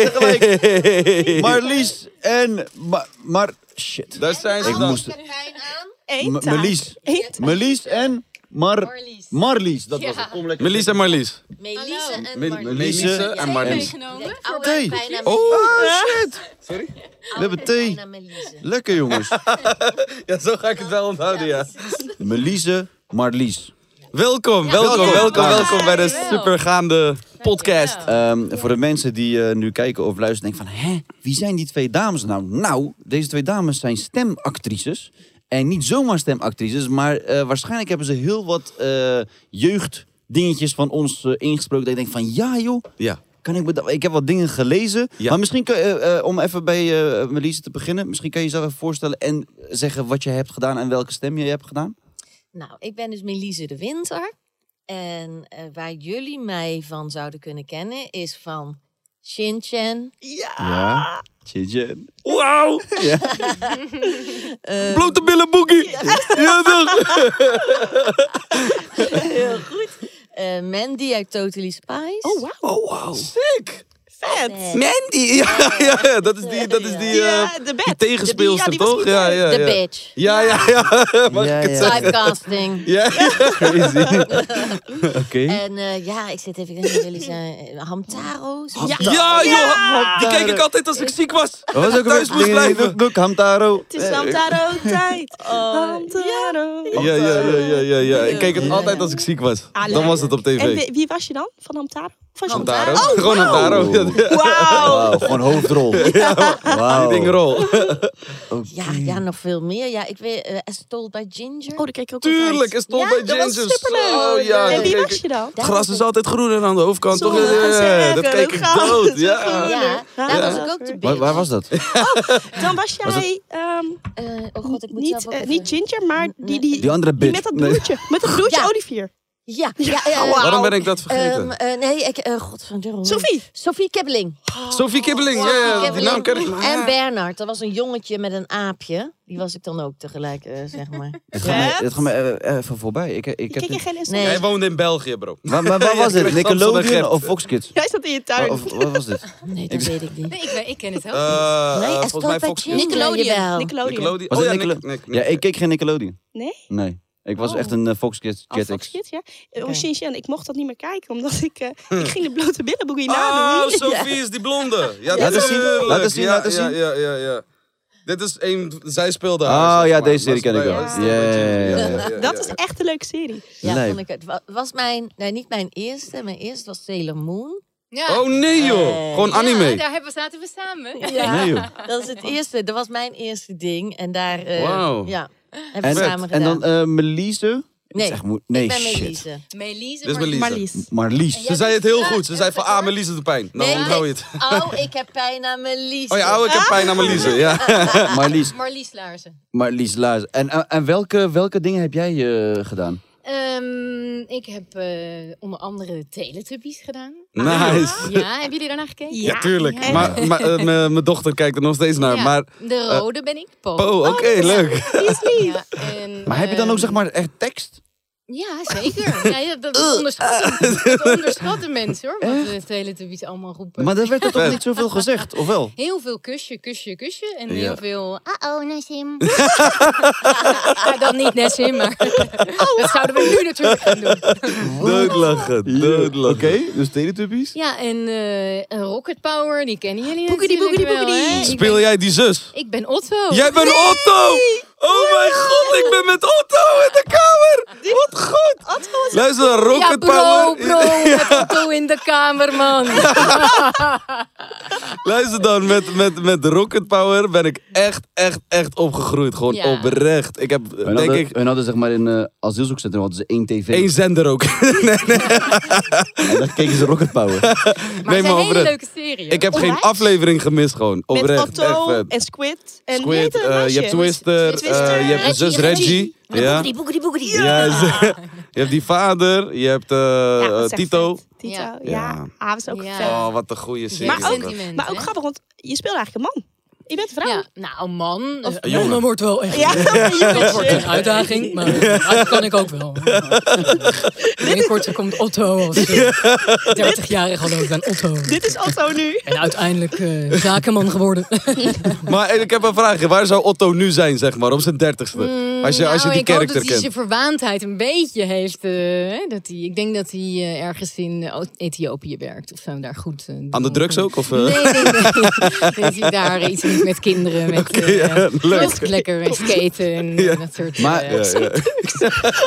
C: Ook nog allebei Marlies en... Maar, maar shit.
E: Daar zijn ze
C: Ik
E: dan.
C: moest...
D: Eén
C: M-
D: taak.
C: Marlies.
D: Eén taak.
C: Marlies en... Mar... Marlies, dat was het. Kom lekker.
E: Melis en Marlies.
H: Melise en
E: Me-
H: Marlies.
E: Melisse en Marlies.
H: Meegenomen.
C: Thee.
H: bijna
C: Oh,
E: Ah.
C: shit. Sorry? We hebben thee.
H: bijna Melise.
C: Lekker, jongens.
E: Ja, zo ga ik het wel onthouden, ja.
C: Melise, Marlies.
E: Welkom, welkom,
C: Welkom.
E: welkom, welkom bij de
H: Dankjewel.
E: supergaande podcast.
C: Ehm, voor de mensen die eh, nu kijken of luisteren, denken van... Hè, wie zijn die twee dames nou? Nou, deze twee dames zijn stemactrices. En niet zomaar stemactrices, maar eh, waarschijnlijk hebben ze heel wat eh, jeugddingetjes van ons eh, ingesproken. Dat ik denk van, ja joh,
E: Ja.
C: kan ik, me dat- ik heb wat dingen gelezen.
E: Ja.
C: Maar misschien, kun, eh, eh, om even bij eh Melise te beginnen. Misschien kan je jezelf even voorstellen en zeggen wat je hebt gedaan en welke stem je hebt gedaan.
H: Nou, ik ben dus Melise de Winter. En eh, waar jullie mij van zouden kunnen kennen is van Shin Chan.
C: Ja. Tjitjen.
E: Wauw!
D: Eh,
E: Blote billen boogie! Ja, toch?
H: Heel goed. Eh, Mandy uit Totally Spice.
D: Oh, wauw.
E: Oh, wow. Sick!
D: Vet.
E: Mandy! Ja, ja, ja, dat is die, dat is die, eh,
D: Ja, de
E: die
D: bed.
E: tegenspeelster,
D: Die- ja, die was
E: toch? Ja, ja,
H: De
E: ja.
H: bitch.
E: Ja, ja, ja. Mag
C: Ja,
E: ik het
C: ja.
E: zeggen?
H: Typecasting.
E: Ja,
C: Crazy. Oké.
H: En eh, ja, ik zit even te denken, jullie zijn eh, Hamtaro. zo-
D: Ja.
E: Ja, joh! Die keek ik altijd als ik ziek was.
C: Wat was ook
E: Thuis moest blijven.
C: Doek, Hamtaro.
D: Het is Hamtaro tijd. Hamtaro.
E: Oh, Ja, ja, ja, ja, ja, ja. Ik keek het altijd als ik ziek was. Dan was het op
D: En
E: tv.
D: wie- wie was je dan? Van Hamtaro? Of was je-
E: Hamtaro.
D: Oh,
E: Gewoon
D: wauw.
E: Hamtaro. Ja, die-
D: Wauw.
C: Wauw, gewoon hoofdrol. Wauw.
E: Die dingrol.
H: Ja, ja, nog veel meer. Ja, ik weet, eh As Told by Ginger.
D: Oh, daar keek ik ook altijd.
E: Tuurlijk, is toch
H: Ja,
E: bij
D: dat was
E: Ginger.
D: superleuk.
E: Zo, ja,
D: En
E: dat
D: wie
E: keek
D: was
E: ik.
D: je dan?
E: Het gras is altijd groener aan de overkant,
D: Zo,
E: toch?
D: dat eh, gaan ze
E: Ja, dat
D: zeggen.
E: keek ik
D: Hoe gaat
E: dood.
D: het?
E: Ja.
H: Ja,
D: Ja.
H: daar was ik ook de bitch.
C: Waar, waar was dat?
D: Dan was jij ehm,
H: Eh, oh god, ik moet
D: niet,
H: zelf ook
D: eh,
H: even...
D: niet Ginger, maar die, die,
C: Die andere
D: die
C: bitch.
D: met dat broertje. Met dat broertje
H: Ja.
D: Olivier.
H: Ja, ja, eh,
E: Waarom ben ik dat vergeten?
H: ehm, eh, nee, ik, eh god van de
D: Sophie!
H: Sophie Kibbeling.
E: Sofie Kibbeling, ja, ja, die naam ken ik. maar-
H: En Bernard, dat was een jongetje met een aapje. Die was ik dan ook tegelijk, eh, zeg maar.
C: Het gaat mij, het gaat mij eh, even voorbij. Ik, ik
D: Ik ken
C: heb
D: je
C: dit-
D: geen les
H: Nee.
E: Hij woonde in België, bro.
C: Waar, waar- waar was dit?
E: krijgt Amsterdam
C: Nickelodeon
E: Gent.
C: of Fox Kids?
D: Jij zat in je tuin.
E: Oh,
C: Of wat was dit?
H: Nee, dat weet ik niet.
I: Nee, ik, weet- ik ken het heel goed.
E: Eh,
H: Nee,
E: eh,
H: het
E: volgens mij
H: bij
E: Fox
H: Jim.
E: Kids.
H: Nickelodeon.
D: Jawel.
H: Nickelodeon.
E: Nickelodeon.
C: Was
E: Oh
C: het
E: ja,
C: Nickelode-
E: Nick- Nick- Nick-
C: Ja, ik keek geen Nickelodeon.
D: Nee?
C: Nee. Ik was
D: Oh.
C: echt een eh, Fox Kids
D: Oh,
C: Jet
D: Fox
C: X.
D: Kids, ja. Eh,
H: Oké.
D: Oh, Shinshan, ik mocht dat niet meer kijken, omdat ik... eh, ik ging de blote billenboekie
E: Oh,
D: nadoen.
E: Sophie is die blonde. Ja,
C: Laat eens zien,
E: tuurlijk.
C: laat eens zien,
E: Ja,
C: laat eens
E: ja,
C: zien.
E: Ja, ja, ja. Dit is een... Zij speelde
C: Oh
E: haar. zeg
C: ja,
E: maar.
C: deze serie ken ik
E: bij
C: wel.
E: haar.
C: Ja, ja, ja,
E: ja,
D: Dat
E: ja.
D: is echt een leuke serie.
H: Ja,
C: Lijp.
H: vond ik het. Wa- Was mijn, nee, niet mijn eerste. Mijn eerste was Sailor Moon.
I: Ja.
E: Oh nee, joh. Gewoon
I: Ja,
E: anime.
I: daar hebben, zaten we samen.
C: Nee, joh.
H: Dat is het eerste. Dat was mijn eerste ding. En daar eh,
E: Wauw.
H: ja, hebben we
C: En,
H: samen gedaan.
C: en dan eh Melise.
H: nee,
C: Zeg, moet- nee,
H: ik ben
C: shit.
H: Melise.
I: Melise,
E: Dit is
I: maar-
E: Melise.
D: Marlies.
C: Marlies.
E: Ze zei het heel goed. Ze zei van, ah, Melise doet pijn. Nou,
H: Nee,
E: onthoud je
H: nee.
E: het.
H: Oh, ik heb pijn aan Melise.
E: Oh ja, oh, ik heb pijn aan Melise. Ja.
C: Marlies.
I: Marlies Laarzen.
C: Marlies Luijs. En, en- en welke, welke dingen heb jij eh, gedaan?
I: Ehm, ik heb eh, onder andere Teletubbies gedaan.
E: Nice.
I: Ja, hebben jullie daarnaar gekeken?
E: Ja, tuurlijk.
I: Ja.
E: Maar maar, eh, mijn mijn dochter kijkt er nog steeds naar.
I: Ja,
E: Maar,
I: de rode ben ik, Po.
E: oh, oké, leuk.
I: Ja,
C: Oh.
I: en,
C: Maar heb je dan ook
I: ehm,
C: zeg maar echt tekst?
I: Ja, zeker. Ja, ja, dat, dat
C: Ah.
I: onderschatten, dat onderschatten mensen hoor, wat de Teletubbies allemaal roepen.
C: Maar er werd er toch
E: Vet.
C: niet zoveel gezegd, of wel?
I: Heel veel kusje, kusje, kusje. En
C: Ja.
I: heel veel... Uh-oh, Nassim. ah, dan niet Nassim, maar...
C: Oh.
I: dat zouden we nu natuurlijk gaan doen.
E: Doodlachen, doodlachen.
C: Oké, dus Teletubbies?
I: Ja, en eh, en Rocket Power, die kennen jullie
D: Boekidi,
I: natuurlijk
D: boekidi,
I: wel,
D: boekidi.
I: hè? Ik
E: Speel
I: ben-
E: jij die zus?
I: Ik ben Otto.
E: Jij bent Otto! Oh mijn god, ik ben met Otto in de kamer! Wat goed! Luister, Rocket
I: ja, bro,
E: Power.
I: bro, met Otto in de kamer, man.
E: Luister dan, met, met, met Rocket Power ben ik echt, echt, echt opgegroeid. Gewoon
I: Ja.
E: oprecht. Ik heb,
C: Hun
E: denk
C: hadden,
E: ik,
C: hun hadden zeg maar in eh asielzoekcentrum hadden ze één tv.
E: één zender ook. nee, nee,
C: En dan keken ze Rocket Power.
I: Maar
E: nee,
I: het is
E: maar
I: een hele
E: oprecht.
I: leuke serie.
E: Ik heb
I: hoor.
E: geen aflevering gemist, gewoon.
D: Met
E: Oprecht.
D: Otto
E: echt vet.
D: en Squid. En hoe heet
E: Squid,
D: dat
E: eh,
D: meisje?
E: je hebt Twister, eh,
D: Twister.
E: je hebt de zus Reggie. Ja.
H: Boekeri, boekeri, boekeri.
E: Ja, ze- je hebt die vader, je hebt eh,
D: Ja, dat
E: eh,
D: is echt
E: Tito.
D: vet. Tito,
I: Ja.
D: ja.
E: Ja.
D: Ah, dat is ook
I: Ja.
D: vet.
E: Oh, wat een goede serie.
I: Maar
E: was
I: ook,
E: dat.
D: Maar ook grappig, want je speelt eigenlijk een man. Je bent een vrouw.
I: Ja, nou man,
E: Een jongen. mannen
I: wordt wel echt
D: Ja,
I: dat wordt
D: jongetje.
I: een uitdaging, maar dat kan ik ook wel. Binnenkort komt Otto als eh, 30-jarige geloof ik dan Otto.
D: Dit is Otto nu.
I: En uiteindelijk zakenman geworden.
E: Maar ik heb een vraagje. Waar zou Otto nu zijn, zeg maar, op zijn dertigste? Als je, als je die
I: ik hoop
E: karakter
I: dat hij
E: kent.
I: zijn verwaandheid een beetje heeft. eh, hè, dat hij, ik denk dat hij eh, ergens in eh, Ethiopië werkt of zo. Daar goed, eh,
E: Aan de drugs ook? Of, eh?
I: Nee, nee, nee. dat hij daar iets doet met kinderen. Met, eh,
E: ja, leuk.
I: met lekker eh, skaten en eh, dat soort
C: Maar-
I: eh,
E: Ja, ja.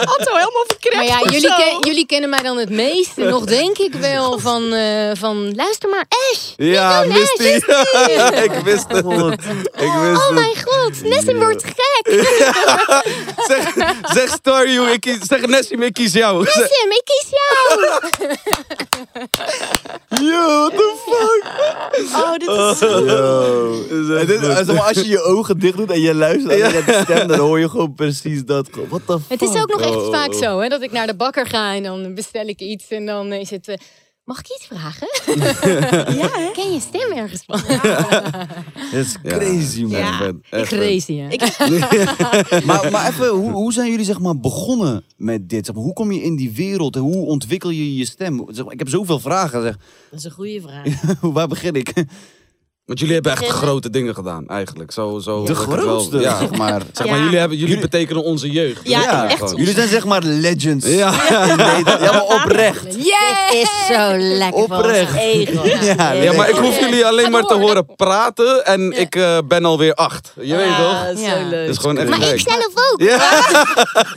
D: Otto helemaal verkrept.
I: Maar ja,
D: of
I: jullie,
D: zo.
I: ken- jullie kennen mij dan het meeste nog, denk ik wel, van, eh, van luister maar, Ash!
E: Ja,
H: Oh,
I: Nico,
E: wist
I: Oh, nee,
E: hij. ik wist het. Ik wist
I: Oh
E: het.
I: mijn god, Nessim wordt gek!
E: Zeg, zeg Star You, ik kies, zeg Nessim, ik kies jou. Zeg,
I: Nessim, ik kies jou!
E: yo, what the fuck?
D: Oh, dit is...
C: Yo. als je je ogen dicht doet en je luistert naar die stem, dan hoor je gewoon precies dat. What the fuck?
I: Het is ook nog echt
E: Oh, oh,
I: vaak
E: oh.
I: zo, hè, dat ik naar de bakker ga en dan bestel ik iets en dan is het... eh, Mag ik iets vragen? Ken je stem ergens van?
C: Dat is crazy, man.
D: Ja.
E: Ben echt-
I: Crazy, hè?
C: Maar, maar even, hoe, hoe zijn jullie zeg maar begonnen met dit? Zeg maar, hoe kom je in die wereld? en Hoe ontwikkel je je stem? Zeg maar, ik heb zoveel vragen. Zeg,
H: Dat is een goede vraag.
C: waar begin ik?
E: Want jullie hebben echt grote dingen gedaan, eigenlijk. Zo, zo
C: De
E: wordt het wel-
C: grootste,
E: ja.
C: zeg maar.
E: Zeg maar,
D: Ja.
E: jullie, hebben, jullie betekenen onze jeugd.
D: Ja,
C: Ja.
D: echt.
C: Jullie zijn zeg maar legends.
E: Ja.
C: Nee, dat- ja, maar oprecht.
I: Yeah!
H: Dit is zo lekker. van ons
C: Oprecht.
H: ego.
C: Ja,
E: Ja, maar ik
C: leuk.
E: hoef jullie alleen maar te horen praten en ik eh, ben alweer acht. Je weet toch?
H: Ah,
I: Ja.
H: zo leuk.
E: Dat is gewoon echt
I: Maar
E: gek.
I: ik zelf ook.
E: Ja.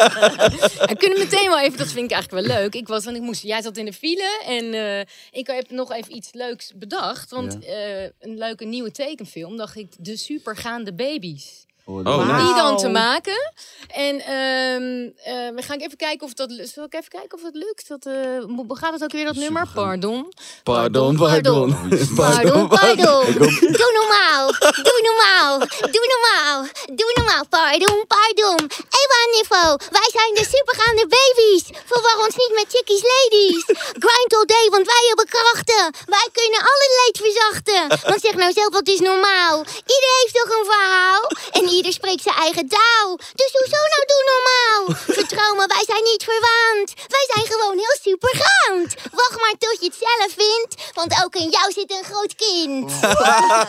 I: We kunnen meteen wel even, dat vind ik eigenlijk wel leuk. Ik was, want ik moest, jij zat in de file en eh, ik heb nog even iets leuks bedacht. Want eh, een leuke nieuwe tekenfilm dacht ik, de supergaande baby's. om
E: leuk.
I: die dan
E: Wauw.
I: te maken. En ehm, eh, we gaan even kijken of dat... lu- Zal ik even kijken of dat lukt? Dat, eh, mo- gaat het ook weer, dat nummer? Pardon.
E: Pardon, pardon.
I: Pardon, pardon.
J: Doe normaal. Doe normaal. Doe normaal. Doe normaal. Pardon, pardon. Ewa niveau. Wij zijn de supergaande baby's. Verwar ons niet met chickies ladies. Grind all day, want wij hebben krachten. Wij kunnen alle leed verzachten. Want zeg nou zelf, wat is normaal? Ieder heeft toch een verhaal? En ieder spreekt zijn eigen taal. Dus hoezo nou doe normaal? Vertrouw me, wij zijn niet verwaand. Wij zijn gewoon heel supergaand. Wacht maar tot je het zelf vindt. Want ook in jou zit een groot kind.
I: Ja,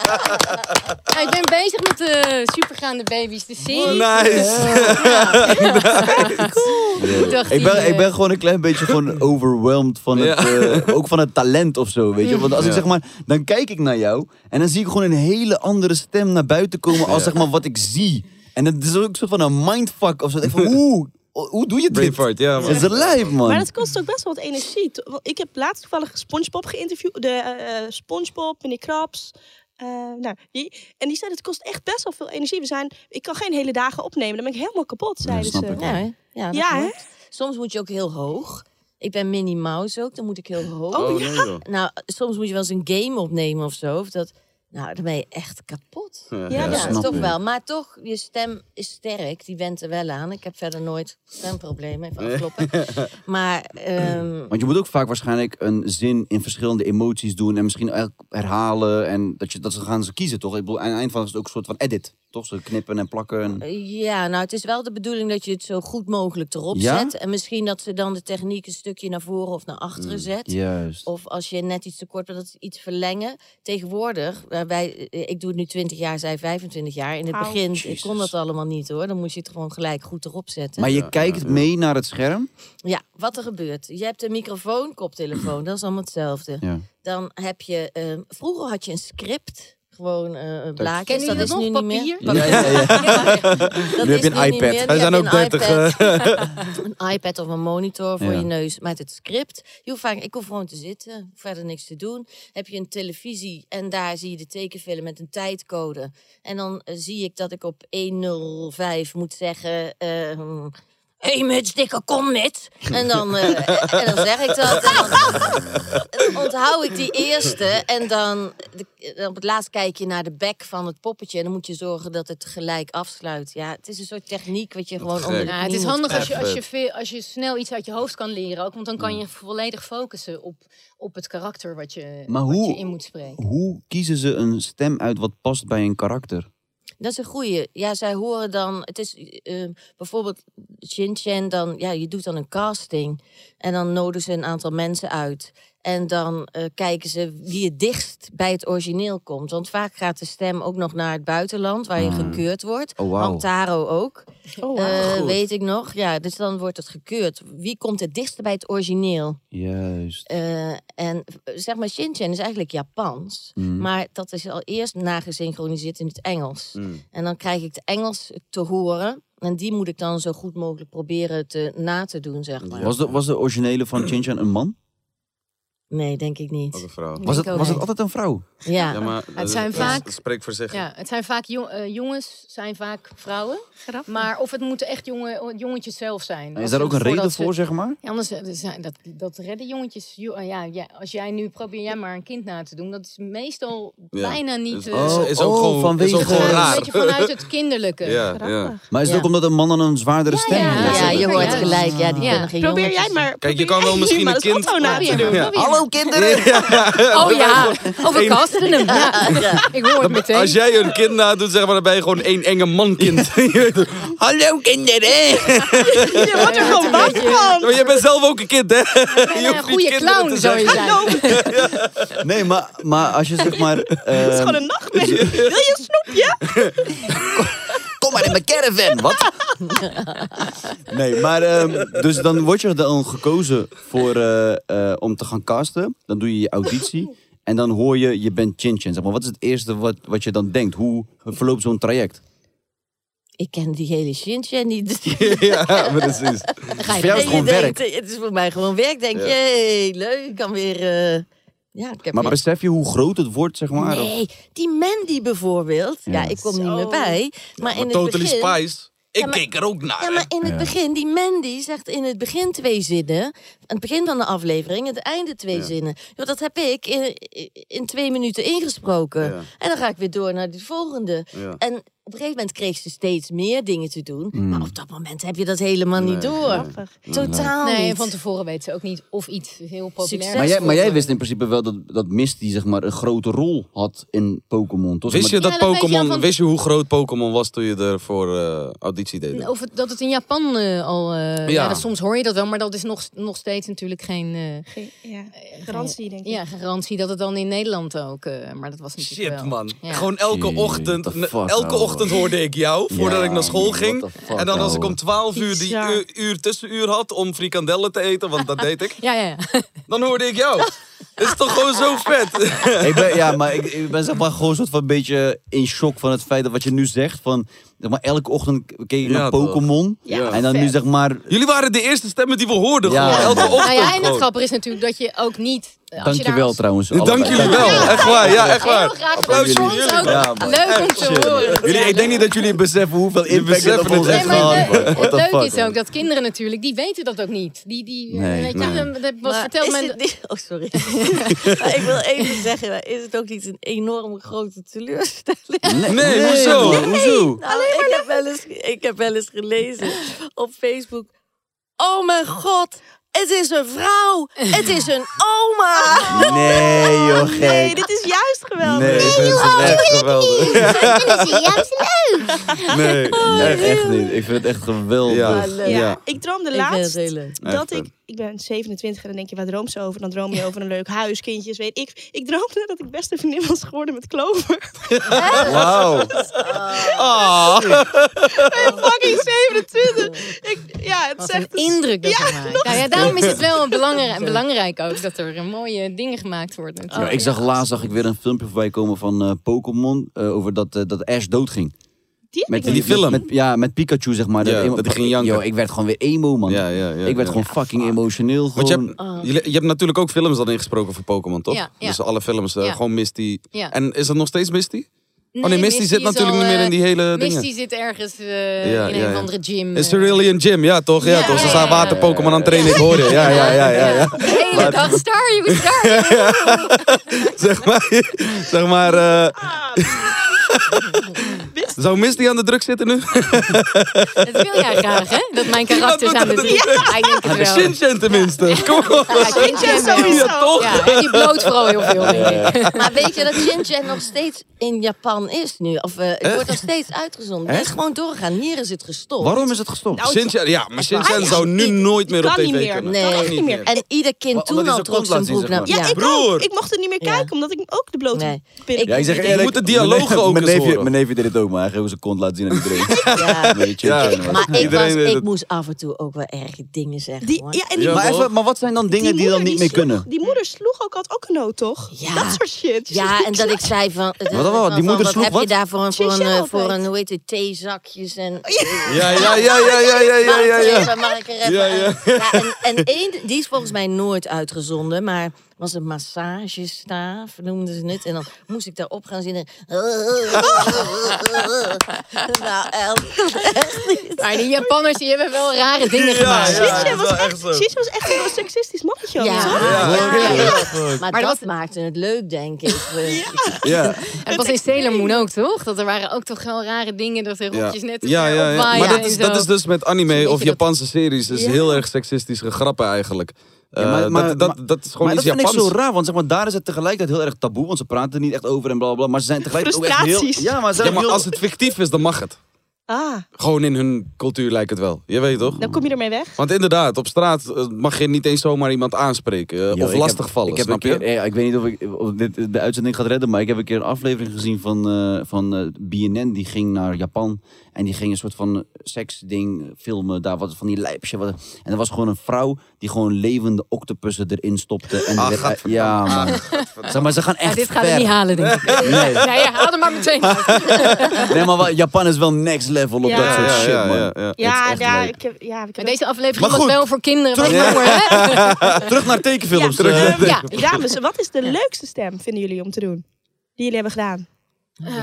I: Nou, ik ben bezig met de supergaande baby's, de
E: Oh,
I: serie.
E: nou.
I: Nice. Dacht eh,
C: Ik ben,
I: hij,
C: ik ben gewoon een klein beetje gewoon overwhelmed van het, eh, ook van het talent of zo, weet je. Want als ik
E: Ja.
C: zeg maar, dan kijk ik naar jou en dan zie ik gewoon een hele andere stem naar buiten komen als zeg maar wat ik zie. En het is ook een soort van een mindfuck of zo. Ik van, oeh, hoe doe je dit?
E: Braveheart, ja, man.
C: Dat is een lijp, man.
D: Maar dat kost ook best wel wat energie. To- want Ik heb laatst toevallig SpongeBob geïnterviewd. De eh, eh, SpongeBob, meneer Krabs. eh, nou, die, en die zei, het kost echt best wel veel energie. We zijn, ik kan geen hele dagen opnemen. Dan ben ik helemaal kapot, zeiden
H: snap
D: ze.
H: ik wel. Ja, hè? Ja, dat
D: Ja, hè?
H: klopt. Soms moet je ook heel hoog. Ik ben Minnie Mouse ook, dan moet ik heel hoog.
D: Oh, ja? nee, joh.
H: Nou, soms moet je wel eens een game opnemen of zo. Of dat, nou, dan ben je echt kapot.
E: Ja,
H: ja,
E: ja,
H: dat
E: snap
H: is toch
E: ik.
H: wel. Maar toch, je stem is sterk. Die went er wel aan. Ik heb verder nooit stemproblemen. Even afkloppen. Maar, ehm,
C: Want je moet ook vaak waarschijnlijk een zin in verschillende emoties doen en misschien elk herhalen en dat, je, dat ze gaan ze kiezen, toch? Ik bedoel, aan het eind van is het ook een soort van edit, toch? Ze knippen en plakken. En...
H: Ja, nou, het is wel de bedoeling dat je het zo goed mogelijk erop
C: Ja?
H: zet. En misschien dat ze dan de techniek een stukje naar voren of naar achteren zet.
C: juist.
I: Oh.
H: Of als je net iets te kort bent, dat ze iets verlengen. Tegenwoordig, eh, wij, eh, ik doe het nu 20 jaar, zij 25 jaar. In het
D: Auw.
H: begin ik
D: Jezus.
H: kon dat allemaal niet hoor. Dan moest je het gewoon gelijk goed erop zetten.
C: Maar je kijkt mee naar het scherm.
H: Ja, wat er gebeurt. Je hebt een microfoon, koptelefoon, dat is allemaal hetzelfde.
C: Ja.
H: Dan heb je, ehm, vroeger had je een script. Gewoon eh een blaadje. dat
I: Kennen jullie
H: is
I: dat
H: nu
I: nog?
H: niet meer.
I: Papier? Ja, ja, ja.
H: Dat
E: Nu heb je
H: is
E: een
H: nu niet meer.
E: iPad. Wij
H: Nu heb
E: zijn
H: je
E: ook
H: een
E: 30,
H: iPad. een iPad of een monitor voor
E: Ja.
H: je neus. Maar het script, je hoeft vaak, ik hoef gewoon te zitten, verder niks te doen. Heb je een televisie en daar zie je de tekenfilm met een tijdcode. En dan eh, zie ik dat ik op 105 moet zeggen... ehm, hey muts, dikke kom met. En dan, eh, en dan zeg ik dat. En dan, dan onthoud ik die eerste. En dan de- eh, op het laatst kijk je naar de bek van het poppetje. En dan moet je zorgen dat het gelijk afsluit. Ja, het is een soort techniek wat je gewoon onder de
I: Ja,
H: knie
I: het is
H: moet
I: handig als je,
H: krijgen.
I: als, je veel, als je snel iets uit je hoofd kan leren. Ook, want dan
C: Mm.
I: kan je volledig focussen op, op het karakter wat je,
C: Maar
I: wat
C: hoe-
I: je in moet spreken.
C: Hoe kiezen ze een stem uit wat past bij een karakter?
H: Dat is een goeie. Ja, zij horen dan. Het is eh, bijvoorbeeld Shin-Chan, dan. Ja, je doet dan een casting. En dan nodigen ze een aantal mensen uit. En dan eh, kijken ze wie het dichtst bij het origineel komt. Want vaak gaat de stem ook nog naar het buitenland, waar je
C: Ah.
H: gekeurd wordt.
C: Oh, wauw.
H: Hamtaro ook.
D: Oh,
H: Eh,
C: Goed.
H: weet ik nog. Ja, dus dan wordt het gekeurd. Wie komt het dichtst bij het origineel?
C: Juist.
H: Eh, en eh, zeg maar, Shinchan is eigenlijk Japans.
C: Mhm.
H: Maar dat is al eerst nagesynchroniseerd in het Engels.
C: Mm.
H: En dan krijg ik het Engels te horen. En die moet ik dan zo goed mogelijk proberen te, na te doen, zeg maar.
C: Was de, was de originele van Chinchan een man?
H: Nee, denk ik niet.
E: Ook een vrouw.
C: Was het,
I: ook
C: was het
I: niet.
C: altijd een vrouw?
H: Ja.
E: maar eh,
I: Het zijn vaak-
E: Spreek voor zich.
I: Ja, het zijn vaak jong- eh, jongens, zijn vaak vrouwen. Maar of het moeten echt jongen, jongetjes zelf zijn.
C: Is
I: Als
C: daar
I: ze-
C: ook een
I: voordat
C: reden
I: ze-
C: voor, zeg maar?
I: Ja, anders eh, dat zijn- dat, dat redden jongetjes. jo- eh, Ja, ja, als jij nu probeer jij maar een kind na te doen, dat is meestal
E: Ja.
I: bijna niet.
E: Is-
I: eh,
E: is- is ook
C: oh,
E: gewoon,
C: vanwege-
E: is ook gewoon
C: Ja,
I: een
E: raar.
I: beetje vanuit het kinderlijke.
E: Ja, ja.
C: Maar is het
H: Ja.
C: ook omdat een man dan een zwaardere stem
I: ja,
C: heeft?
H: Ja, je
I: zeker,
H: hoort
I: ja.
H: gelijk. Ja, die
I: Ja.
H: kunnen geen
D: Probeer jij
H: jongetjes.
D: maar...
E: Kijk, je kan wel misschien een kind...
D: na te doen.
E: Ja.
C: Hallo kinderen!
I: Oh ja, over kasten hem. Ja. Ik hoor het meteen.
E: Als jij een kind nadoet, zeg maar, dan ben je gewoon één enge mankind. Hallo kinderen!
D: Je wordt er gewoon bang van.
E: Maar jij bent zelf ook een kind, hè?
I: ben
E: Je
I: een
E: hoeft niet
I: eh, goede
E: kinderen
I: clown
E: te
I: zou je
E: zeggen.
I: zijn.
C: Nee, maar, maar als je zeg maar...
D: Het is
C: eh,
D: gewoon een nachtmerrie. Wil je een snoepje?
C: Kom maar in mijn caravan, wat? Nee, maar ehm, dus dan word je dan gekozen voor, eh, eh, om te gaan casten. Dan doe je je auditie. En dan hoor je, je bent Chin-Chin. Zeg maar, wat is het eerste wat, wat je dan denkt? Hoe verloopt zo'n traject?
H: Ik ken die hele Shinchan niet.
E: ja, precies.
H: Dan ga je
C: voor jou
H: en
C: is het
H: je
C: gewoon
H: denkt, eh, het is voor mij gewoon werk. Denk je, hey, leuk, ik kan weer eh, Ja, ik heb
C: Maar
H: echt-
C: besef je hoe groot het wordt, zeg maar? of-
H: Nee, die Mandy bijvoorbeeld. Ja,
C: Ja.
H: ik kom niet meer bij. Maar, in
E: Totally
H: het begin,
E: Spice. Ik
H: Ja, maar-
E: keek er ook naar.
H: Ja,
E: hè.
H: maar in het begin, die Mandy zegt in het begin twee zinnen. Aan het begin van de aflevering, aan het einde twee zinnen. Joh, dat heb ik in, in twee minuten ingesproken. En dan ga ik weer door naar de volgende.
E: Ja.
H: En op een gegeven moment kreeg ze steeds meer dingen te doen.
I: Mm.
H: Maar op dat moment heb je dat helemaal niet
I: Nee,
H: door.
I: Grappig.
H: Totaal
I: Nee,
H: niet.
I: van tevoren weet ze ook niet of iets heel populair
C: Maar
I: is.
C: jij, maar jij wist in principe wel dat, dat Misty zeg maar, een grote rol had in Pokémon, toch?
E: Wist je
C: Maar-
E: dat
I: Ja, dat weet je
E: Pokémon,
I: wel van-
E: wist je hoe groot Pokémon was toen je ervoor eh, auditie deed?
I: Of het- dat het in Japan eh, al... eh, ja.
E: Ja.
I: dat- soms hoor je dat wel, maar dat is nog, nog steeds natuurlijk geen... eh,
D: Ja, garantie denk ik.
I: Ja, garantie dat het dan in Nederland ook... eh, maar dat was natuurlijk
E: Shit
I: wel.
E: man,
I: Ja.
E: gewoon elke
C: Shit,
E: ochtend,
C: what the fuck,
E: elke
C: ouwe.
E: ochtend hoorde ik jou voordat
C: Ja,
E: ik naar school
C: man,
E: ging.
C: what the fuck,
E: en dan als ik
C: ouwe.
E: om 12 uur die
I: Bizar.
E: uur, uur tussenuur had om frikandellen te eten, want dat deed ik,
I: Ja, ja, ja.
E: dan hoorde ik jou. Het is toch gewoon zo vet.
C: ik ben, ja, maar ik, ik ben zeg maar gewoon soort van een beetje in shock van het feit dat wat je nu zegt. Van, zeg maar, elke ochtend keek ik
E: Ja,
C: naar
E: toch.
C: Pokémon.
E: Ja,
C: en dan nu
I: vet.
C: zeg maar...
E: Jullie waren de eerste stemmen die we hoorden,
C: Ja.
E: gewoon elke
C: Nou
E: ochtend.
I: Nou ja, en het
E: gewoon.
I: grappige is natuurlijk dat je ook niet... eh, Als je daar
C: Dankjewel
I: als-
C: trouwens.
E: Dank jullie wel, echt waar, ja, echt
I: Heel
E: waar.
I: graag
E: Applaus voor
I: voor ons
E: jullie.
I: ook.
C: Ja, man.
I: Leuk om te
C: Shit.
I: horen.
C: Jullie, ik denk niet dat jullie beseffen hoeveel impact dit op
E: beseffen
C: ons
E: het
C: heeft
E: echt
C: gehad.
I: Maar de-
C: What
I: het
C: the
I: leuke
C: fuck,
I: is ook dat kinderen natuurlijk, die weten dat ook niet. Die, die, eh,
C: Nee,
I: weet je,
C: nee.
I: dat- dat was
H: Maar
I: verteld
H: is
I: men...
H: het niet- Oh, sorry. maar ik wil even zeggen, maar is het ook niet een enorm grote teleurstelling?
C: Nee,
E: Nee, hoezo?
C: man, hoezo?
H: Nou, ik, heb wel eens, ik heb wel eens gelezen op Facebook. Oh mijn god, het is een vrouw. Het is een oma.
C: Nee, joh, gek.
D: Nee, dit is juist geweldig.
C: Nee, ik vind het echt geweldig.
J: Dat is juist leuk.
C: Nee, nee, echt niet. Ik vind het echt geweldig.
E: Ja.
H: leuk.
E: Ja.
D: Ik droomde
H: Ik vind het
D: laatst
H: heel leuk.
D: dat
E: Echt,
D: ik... Ik ben 27 en dan denk je, waar droom ze over? Dan droom je over een leuk huis, kindjes, weet ik. Ik droomde dat ik beste vriendin was geworden met Clover.
C: Wauw. Ah.
D: Ik ben fucking 27. Ik, ja, het
I: Wat
D: zegt...
I: een indruk dat
D: Ja,
I: je maakt. Nou ja, daarom is het wel een belangrijk, en belangrijk ook dat er eh, mooie dingen gemaakt worden.
C: Ja, ik zag laatst zag ik weer een filmpje voorbij komen van eh, Pokémon eh, over dat, eh, dat Ash doodging.
D: Die heb ik
E: Die
D: niet.
E: film.
C: Met, ja, met Pikachu zeg maar.
E: Ja,
C: iemand-
E: dat die ging janken.
C: Yo, ik werd gewoon weer emo man.
E: Ja, ja, ja,
C: ik werd
E: ja.
C: gewoon fucking emotioneel.
E: Want
C: Gewoon.
E: je hebt, jullie- je hebt natuurlijk ook films dan ingesproken voor Pokémon, toch?
I: Oh. Ja, ja.
E: Dus alle films, eh,
I: Ja.
E: gewoon Misty.
I: Ja.
E: En is dat nog steeds Misty? oh nee, Misty, zit
I: is
E: natuurlijk
I: al,
E: niet meer in die
I: eh,
E: hele
I: Misty
E: dingen.
I: zit ergens eh,
E: Ja,
I: in
E: ja,
I: een of
E: ja.
I: andere gym.
E: Is
I: eh,
E: Cerulean Gym, ja toch? Ja,
I: Ja,
E: toch? Ze
I: ja,
E: zijn
I: ja, ja.
E: water Pokémon aan het trainen, ik hoor je. Ja, ja, ja, ja. ja.
I: De hele dag, star you, star you.
E: zeg maar, zeg maar eh, zou Misty aan de druk zitten nu?
I: Dat wil jij graag, hè? Dat mijn karakters aan de
E: doet
I: drie. Ja, ik
E: Ah,
I: denk het wel.
E: Shinchan tenminste. Kom op.
I: Ja, ik denk het wel.
E: Ja, toch?
I: Ja, en die bloot vooral heel veel, denk ik.
H: Maar weet je dat Shinchan nog steeds in Japan is nu? Of eh, het wordt nog steeds uitgezonden. Het is gewoon doorgaan. Hier is het gestopt.
C: Waarom is het gestopt?
E: Shinchan, ja, maar Shinchan
D: Hij-
E: zou nu
D: Ah, ik-
E: nooit meer op
D: kan
E: tv
D: niet meer.
E: kunnen.
H: Nee.
E: Kan
H: Kan
E: echt
H: niet
E: niet meer.
H: En ieder kind
C: Omdat hij
H: toen al
C: zijn
H: trok
C: kont
H: zijn
C: laat zien,
H: broek
C: zeg
H: naar...
C: maar.
D: Ja, ik
E: Broer.
D: ook. Ik mocht er niet meer
H: Ja.
D: kijken, omdat ik ook de blote
H: Nee.
D: billen-
C: ja, ik zeg
H: Je
C: eerlijk,
E: moet de dialoog
C: mijn-
E: ook
C: mijn
E: eens
C: neefje,
E: horen.
C: mijn neefje deed het ook, maar hij ging ook zijn kont laten zien aan iedereen.
H: Ja.
C: Beetje chill,
E: Ja.
C: chill, man.
H: Maar ik,
E: Iedereen
H: was,
E: weet
H: ik
E: het.
H: moest af en toe ook wel erge dingen zeggen.
D: Die,
H: hoor.
D: ja, en die,
E: Ja,
C: Maar,
E: toch?
C: even, maar wat zijn dan dingen die,
D: moeder
C: dan niet meer
D: sloeg-
C: kunnen?
D: Die moeder sloeg ook, had ook een noot, toch?
H: Ja.
D: Dat soort shit.
H: Ja, en dat ik zei van... eh,
C: Wat- wat- wat? Die
H: van,
C: moeder sloeg
H: heb
C: wat?
H: je daar voor een, voor een,
D: Sinds jij
H: eh, voor
D: altijd.
H: een hoe heet het, theezakjes en...
E: Ja, ja, ja, ja, ja, ja, ja, ja,
H: Mag ik er
E: ja.
H: even, mag ik er even
E: Ja,
H: aan?
E: ja.
H: Ja, en, en één, die is volgens mij nooit uitgezonden, maar was een massagestaaf, noemden ze het. En dan moest ik daarop gaan zitten. nou, echt. echt niet.
I: Maar die Japanners die hebben wel rare dingen
E: Ja,
I: gemaakt.
E: ja,
D: Sisje
E: dat is
D: was,
E: wel
D: echt-
E: echt zo.
D: Sisje was echt een seksistisch mannetje. ook,
H: Ja.
D: toch?
E: Ja,
H: Ja,
E: ja, ja.
H: Maar, dat, maakte het leuk, denk ik.
E: Ja.
I: Het was in Sailor Moon ook, toch? Dat er waren ook toch wel rare dingen. Dat er rondjes net
E: ja, ja, ja.
I: opwaaien
E: Maar dat
I: en
E: is,
I: zo.
E: dat is dus met anime
I: Zo'n
E: of
I: beetje dat-
E: Japanse series. dus heel erg seksistische grappen eigenlijk. Eh,
C: Ja, maar- maar-
E: dat, dat,
C: maar-
E: dat is gewoon
C: maar
E: iets
C: dat vind
E: Japans.
C: ik zo raar, want zeg maar, daar is het tegelijkertijd heel erg taboe, want ze praten er niet echt over en bla bla, bla, maar ze zijn tegelijk ook echt heel...
D: Frustraties.
C: Ja, maar, ze zijn
E: Ja, maar
C: heel-
E: als het fictief is, dan mag het.
D: Ah,
E: Gewoon in hun cultuur lijkt het wel. Je weet toch?
D: dan kom je ermee weg.
E: Want inderdaad, op straat eh, mag je niet eens zomaar iemand aanspreken eh,
C: Yo,
E: of
C: ik
E: lastig
C: heb-
E: vallen.
C: Ik, heb
E: snap
C: een
E: je?
C: keer, eh, ik weet niet of ik of dit de uitzending gaat redden, maar ik heb een keer een aflevering gezien van, eh, van eh, BNN. Die ging naar Japan en die ging een soort van seksding filmen. Daar wat van die lijpje. Wat, en er was gewoon een vrouw die gewoon levende octopussen erin stopte. En die
E: Ah,
C: werd-
E: gadverdamme.
C: ja, man. Zeg maar, ze gaan
I: Ja,
C: echt
I: dit gaat
C: ver.
I: het niet halen, denk ik. Nee, ja, haal er maar meteen uit.
C: Nee, maar wat- Japan is wel next level op
D: Ja.
C: dat soort
D: Ja,
C: shit,
E: ja,
C: man.
E: ja, ja.
D: Ja, ja,
C: leuk.
D: ik heb, ja, ik heb
I: Maar deze aflevering
C: Maar
I: was
C: goed,
I: wel voor kinderen.
C: terug
I: wat
C: naar-
I: jonger, hè?
E: Ah,
C: Terug naar tekenfilms.
I: Ja,
C: eh.
I: ehm, ja.
D: Dames, wat is de leukste stem, vinden jullie, om te doen? Die jullie hebben gedaan?
I: Eh,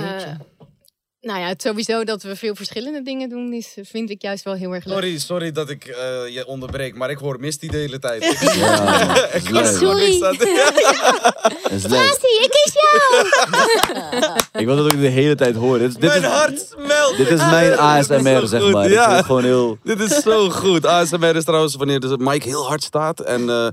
I: nou ja, het sowieso dat we veel verschillende dingen doen, is, eh, vind ik juist wel heel erg leuk.
E: Sorry, sorry dat ik eh, je onderbreek, maar ik hoor Misty de hele tijd. ik kan
C: leuk.
E: er gewoon niks aan doen.
C: Dat is leuk.
J: Basie, ik kies jou!
C: Ik wil dat ook de hele tijd horen. Dit, is- dit
E: Mijn
C: is,
E: hart smelt.
C: dit is mijn ASMR, zeg
E: goed,
C: maar. Ik
E: ja.
C: vind het gewoon heel...
E: Dit is zo goed. ASMR is trouwens wanneer de mic heel hard staat en eh,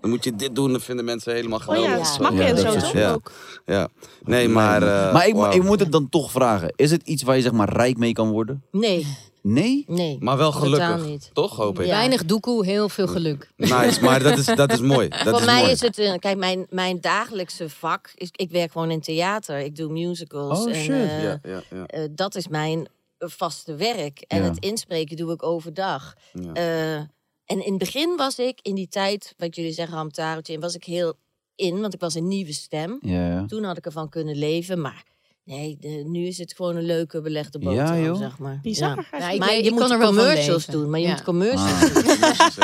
E: dan moet je dit doen, dan vinden mensen helemaal
H: Oh
E: geweldig.
D: Oh ja, smakken en zo, toch?
E: Ja,
D: Ook.
E: ja. Nee, maar... eh,
C: maar ik, mo-
E: wauw.
C: ik moet het dan toch vragen. Is het iets waar je zeg maar rijk mee kan worden?
H: Nee,
C: Nee?
H: nee.
E: Maar wel
H: Totaal
E: gelukkig,
H: niet.
E: toch hoop ik?
H: Ja.
I: Weinig doekoe, heel veel geluk.
E: Nice, maar dat is, dat is mooi. Dat
H: Voor
E: is
H: mij
E: mooi.
H: is het, eh, kijk, mijn, mijn dagelijkse vak is, ik werk gewoon in theater. Ik doe musicals.
C: Oh,
H: en,
C: shit.
H: eh,
E: Ja, ja, ja.
H: eh, dat is mijn eh, vaste werk. En
C: Ja.
H: het inspreken doe ik overdag.
E: Ja.
H: Eh, en in het begin was ik, in die tijd, wat jullie zeggen, Hamtaretje, was ik heel in, want ik was een nieuwe stem.
C: Ja.
H: Toen had ik ervan kunnen leven, maar nee, de- nu is het gewoon een leuke belegde boterham,
C: joh.
H: zeg maar.
D: Bizar
H: Ja.
D: eigenlijk.
I: Ja,
H: Maar
I: weet-
H: je moet
I: kan er wel van
H: commercials
I: leven.
H: doen, maar je
I: Ja.
H: moet commercials
C: Ah.
H: doen.
C: Daar is het.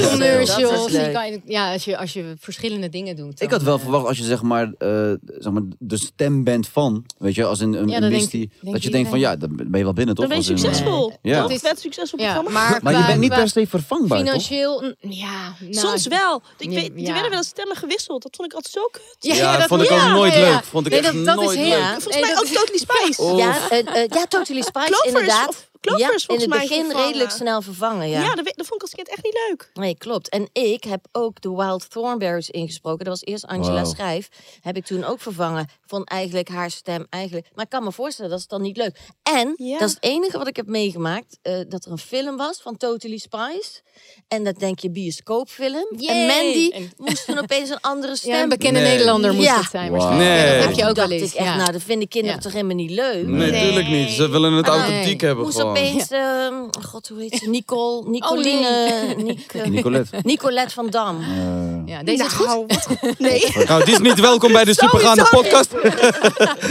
H: Dat
I: Commercials.
H: is
I: je
H: leuk.
I: kan- Ja, als je, als je verschillende dingen doet. dan,
C: Ik had wel
I: eh,
C: verwacht als je zeg maar, eh, zeg maar de stem bent van, weet je, als in een,
I: Ja, dat
C: een
I: denk-
C: misty,
I: denk
C: dat je denkt van ja, dan ben je wel binnen toch?
D: Dan ben je
C: Als in, eh,
D: succesvol.
C: Ja.
D: Toch? Vet succesvol
I: Ja,
D: programma.
I: maar,
C: Maar je
I: qua-
C: bent niet
I: qua
C: per se vervangbaar toch?
I: Financieel, n- ja. nou,
D: Soms wel. Ik
I: Ja,
D: weet, er
I: ja.
D: werden wel eens stemmen gewisseld. Dat vond ik altijd zo kut.
E: Ja, dat vond ik ook nooit leuk. Vond ik
I: nee,
E: echt
I: dat, dat
E: nooit
I: is heel,
H: leuk.
D: Volgens
I: nee,
D: mij
I: dat
D: ook
I: is-
D: Totally Spice.
H: Ja, eh, eh, ja, Totally Spice,
D: Clover is-
H: inderdaad.
D: of Clover
H: ja,
D: is volgens
H: in het
D: mij
H: begin
D: vervangen.
H: redelijk snel nou vervangen, ja.
D: Ja, dat, we- dat vond ik als kind echt niet leuk.
H: Nee, klopt. En ik heb ook de Wild Thornberries ingesproken. Dat was eerst Angela
C: Wauw.
H: Schrijf. Heb ik toen ook vervangen. Ik Vond eigenlijk haar stem eigenlijk... Maar ik kan me voorstellen, dat is dan niet leuk. En,
D: Ja.
H: dat is het enige wat ik heb meegemaakt... eh, dat er een film was van Totally Spice. En dat denk je bioscoopfilm. En
I: Yay.
H: Mandy
I: En-
H: moest toen opeens een andere stem.
I: Ja, een bekende
E: Nee.
I: Nederlander moest
H: Ja.
I: het zijn.
C: Wauw.
I: waarschijnlijk. Ja,
E: Nee.
I: dat heb je
H: Toen
I: ook wel
H: dacht
I: eens.
H: ik echt,
I: ja.
H: nou, dat vinden kinderen
I: Ja. Mm.
H: toch helemaal niet leuk?
E: Nee,
C: Nee.
E: natuurlijk niet. Ze willen het authentiek hebben
H: Ah, Moest
E: gewoon.
H: opeens, ehm, god, hoe heet ze? Nicole, Nicoline, Nick, eh,
C: Nicolette.
H: Nicolette van Dam.
C: Eh,
I: ja, deze is goed.
D: Nou, wat- Nee.
E: Nou, die is niet welkom bij de supergaande
D: Sowieso
E: podcast.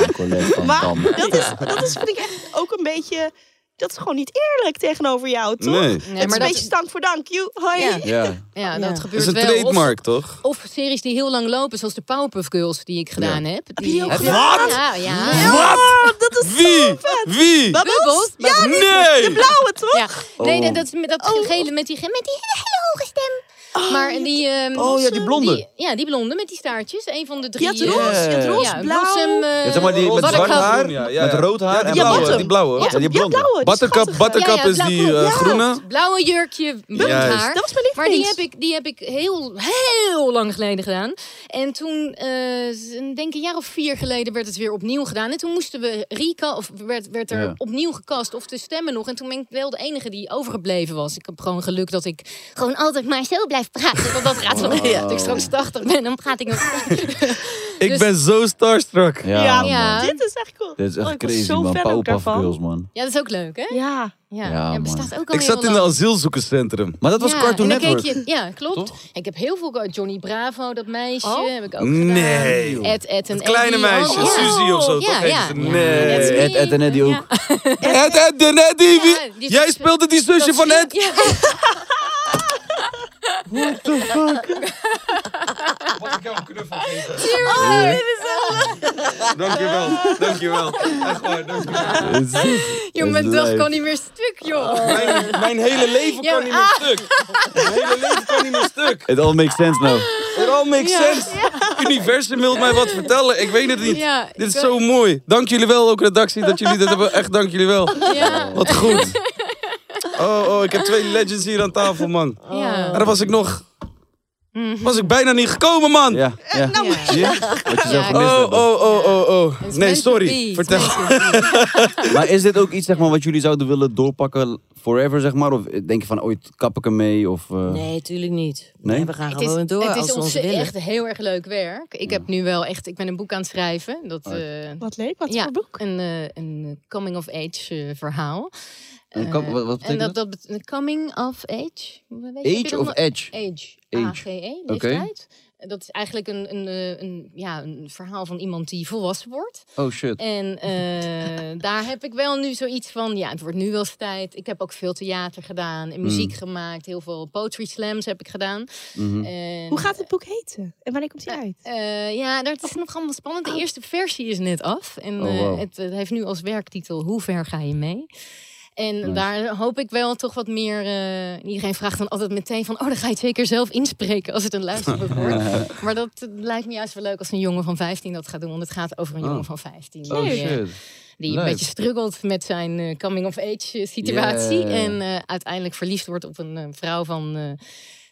C: Nicolette van
D: Maar
C: Dam.
D: dat is, dat is vind ik echt ook een beetje... Dat is gewoon niet eerlijk tegenover jou, toch?
E: Nee.
D: Het is
I: maar
D: een
I: dat-
D: beetje stank voor dank. You, hoi.
H: Ja.
C: Ja.
I: Ja,
H: Ja.
I: dat
E: Dat is
I: gebeurt
E: een
I: wel.
E: trademark, toch?
I: Of, of series die heel lang lopen, zoals de Powerpuff Girls die ik gedaan heb. Die,
D: die ook
I: Heb je-
E: gedaan?
I: Ja, ja.
D: Oh, dat is
E: Wie?
D: zo vet.
E: Wie?
I: Bubbles?
D: Ja, die-
E: Nee.
D: de blauwe, toch? Oh.
I: Ja. Nee,
C: Oh.
I: nee, dat is met dat gele, met die, ge- met die hele hoge stem. maar en die... ehm,
C: Oh ja, die blonde.
I: die- ja, die blonde met die staartjes. Een van de drie.
D: Je had roze, je had
C: Yeah.
D: roze,
I: ja,
D: blauw.
I: Blossom, eh,
C: Ja, zeg maar die met
I: Buttercup.
C: zwart haar,
E: Ja, ja, ja.
C: met rood haar
E: Ja, die
C: en
D: blauwe,
C: blauwe.
D: die
E: blauwe.
C: Ja, die
D: Ja,
C: blonde.
D: blauwe, die
E: Buttercup,
D: schattige.
E: buttercup
I: Ja, ja,
E: is die eh,
I: blauwe. Ja.
E: groene.
I: Blauwe jurkje, blond
E: Juist.
I: haar.
D: Dat was mijn
I: Maar die
D: lievelings.
I: heb ik, die heb ik heel, heel lang geleden gedaan. En toen, eh, z- denk een jaar of vier geleden, werd het weer opnieuw gedaan. En toen moesten we Rika, of werd, werd er
C: Ja.
I: opnieuw gekast of de stemmen nog. En toen ben ik wel de enige die overgebleven was. Ik heb gewoon geluk dat ik
J: Gewoon altijd maar zo blijf praten.
I: dat, dat gaat van, ja, dat ik straks 80 ben, dan praat ik nog.
E: Ik
I: Dus-
E: ben zo starstruck.
C: Ja,
D: Ja,
C: man.
I: ja.
D: Dit is echt cool.
C: Dit is echt
D: Oh, ik was
C: crazy,
D: zo
C: man.
D: fan ook
C: Powerpuff
D: daarvan.
C: Girls, man.
I: Ja, dat is ook leuk, hè?
D: Ja.
I: Ja,
C: Ja,
I: ja
C: man.
I: bestaat ook al
E: Ik
I: heel
E: zat in
I: lang.
E: een asielzoekerscentrum.
C: Maar dat was
I: ja,
C: Cartoon
I: en dan keek
C: Network.
I: je- ja, klopt. Ik heb heel veel... Johnny Bravo, dat meisje,
D: Oh.
I: heb ik ook
E: Nee.
I: gedaan. Ed, Ed en
E: Het kleine
I: Eddie,
E: meisje,
I: allemaal.
E: Suzy of zo,
I: oh, Ja,
E: toch?
I: ja.
E: heette ze? Nee.
I: Ed-
C: Ed, Ed en Eddie
I: Ja.
C: ook.
E: Ed, Ed, en Eddie. wie-
I: Ja, die-
E: Jij speelde die zusje
I: Dat
E: van
I: zie-
E: Ed.
I: Ja.
C: What the fuck?
E: Mag ik jou een knuffel geven?
I: Oh, dit is zo-
E: Dankjewel, dankjewel. Echt waar, dankjewel.
I: Joh, mijn
C: Dat is
I: dag
C: lijp.
I: kan niet meer stuk, joh.
E: Mijn, mijn hele leven
I: Ja,
E: kan niet meer stuk. Mijn hele leven kan niet meer stuk.
C: It all makes sense now.
E: It all makes sense. Het universum wil mij wat vertellen. Ik weet het niet.
I: Ja,
E: dit is
I: ik-
E: zo mooi. Dank jullie wel, ook redactie, dat jullie dit hebben. Echt, dank jullie wel.
I: Ja.
E: Wat goed. Oh, oh, ik heb twee legends hier aan tafel, man.
I: Ja.
E: En daar was ik nog... Was ik bijna niet gekomen, man.
C: Ja, ja.
I: Ja.
C: Zie je? Wat je zo
I: Ja.
C: gemist
E: Oh,
C: hebt.
E: oh, oh, oh, oh.
I: It's
E: Nee,
I: meant to be.
E: sorry.
I: It's
E: Vertel.
I: meant to be.
C: Maar is dit ook iets zeg maar, wat jullie zouden willen doorpakken forever, zeg maar? Of denk je van ooit kap ik ermee? Of, eh,
H: Nee, tuurlijk niet.
C: Nee?
H: Nee, we gaan
I: Het
H: gewoon
I: is,
H: door
I: het
H: als
I: is
H: ze ons
I: ontze-
H: willen.
I: echt heel erg leuk werk. Ik
E: Hmm.
I: heb nu wel echt... Ik ben een boek aan het schrijven. Dat, eh,
D: Wat leuk, wat
I: ja,
D: voor boek.
I: Een, eh, een coming-of-age eh, verhaal.
C: Een kap-
I: Eh,
C: wat- wat
I: en
C: betekent
I: dat, dat bet- coming of age? Weet je, heb je
C: Age
I: dat
C: of
I: nog-
C: edge?
I: Age.
C: Age.
I: A-G-E,
C: Oké.
I: leeftijd. Dat is eigenlijk een, een, eh, een, ja, een verhaal van iemand die volwassen wordt.
C: Oh shit.
I: En eh, daar heb ik wel nu zoiets van, ja, het wordt nu wel eens tijd. Ik heb ook veel theater gedaan en muziek
C: Hmm.
D: Mm.
I: gemaakt. Heel veel poetry slams heb ik gedaan. Eh,
D: Mhm.
I: En,
D: Hoe gaat het boek heten? En wanneer komt hij uit?
I: eh, ja, dat is nog allemaal spannend. De eerste versie is net af. En
D: Oh,
I: eh,
D: wauw.
I: het, het heeft nu als werktitel Hoe ver ga je mee? En
D: Nice.
I: daar hoop ik wel toch wat meer... eh, iedereen vraagt dan altijd meteen van... oh, dan ga je het zeker zelf inspreken als het een luisterboek wordt. Maar dat eh, lijkt me juist wel leuk als een jongen van 15 dat gaat doen. Want het gaat over een
C: Oh.
I: jongen van 15.
C: Oh,
I: die, eh,
C: shit.
I: Die
C: Leuk.
I: een beetje struggelt met zijn eh, coming-of-age situatie.
C: Yeah.
I: En eh, uiteindelijk verliefd wordt op een eh, vrouw van... eh,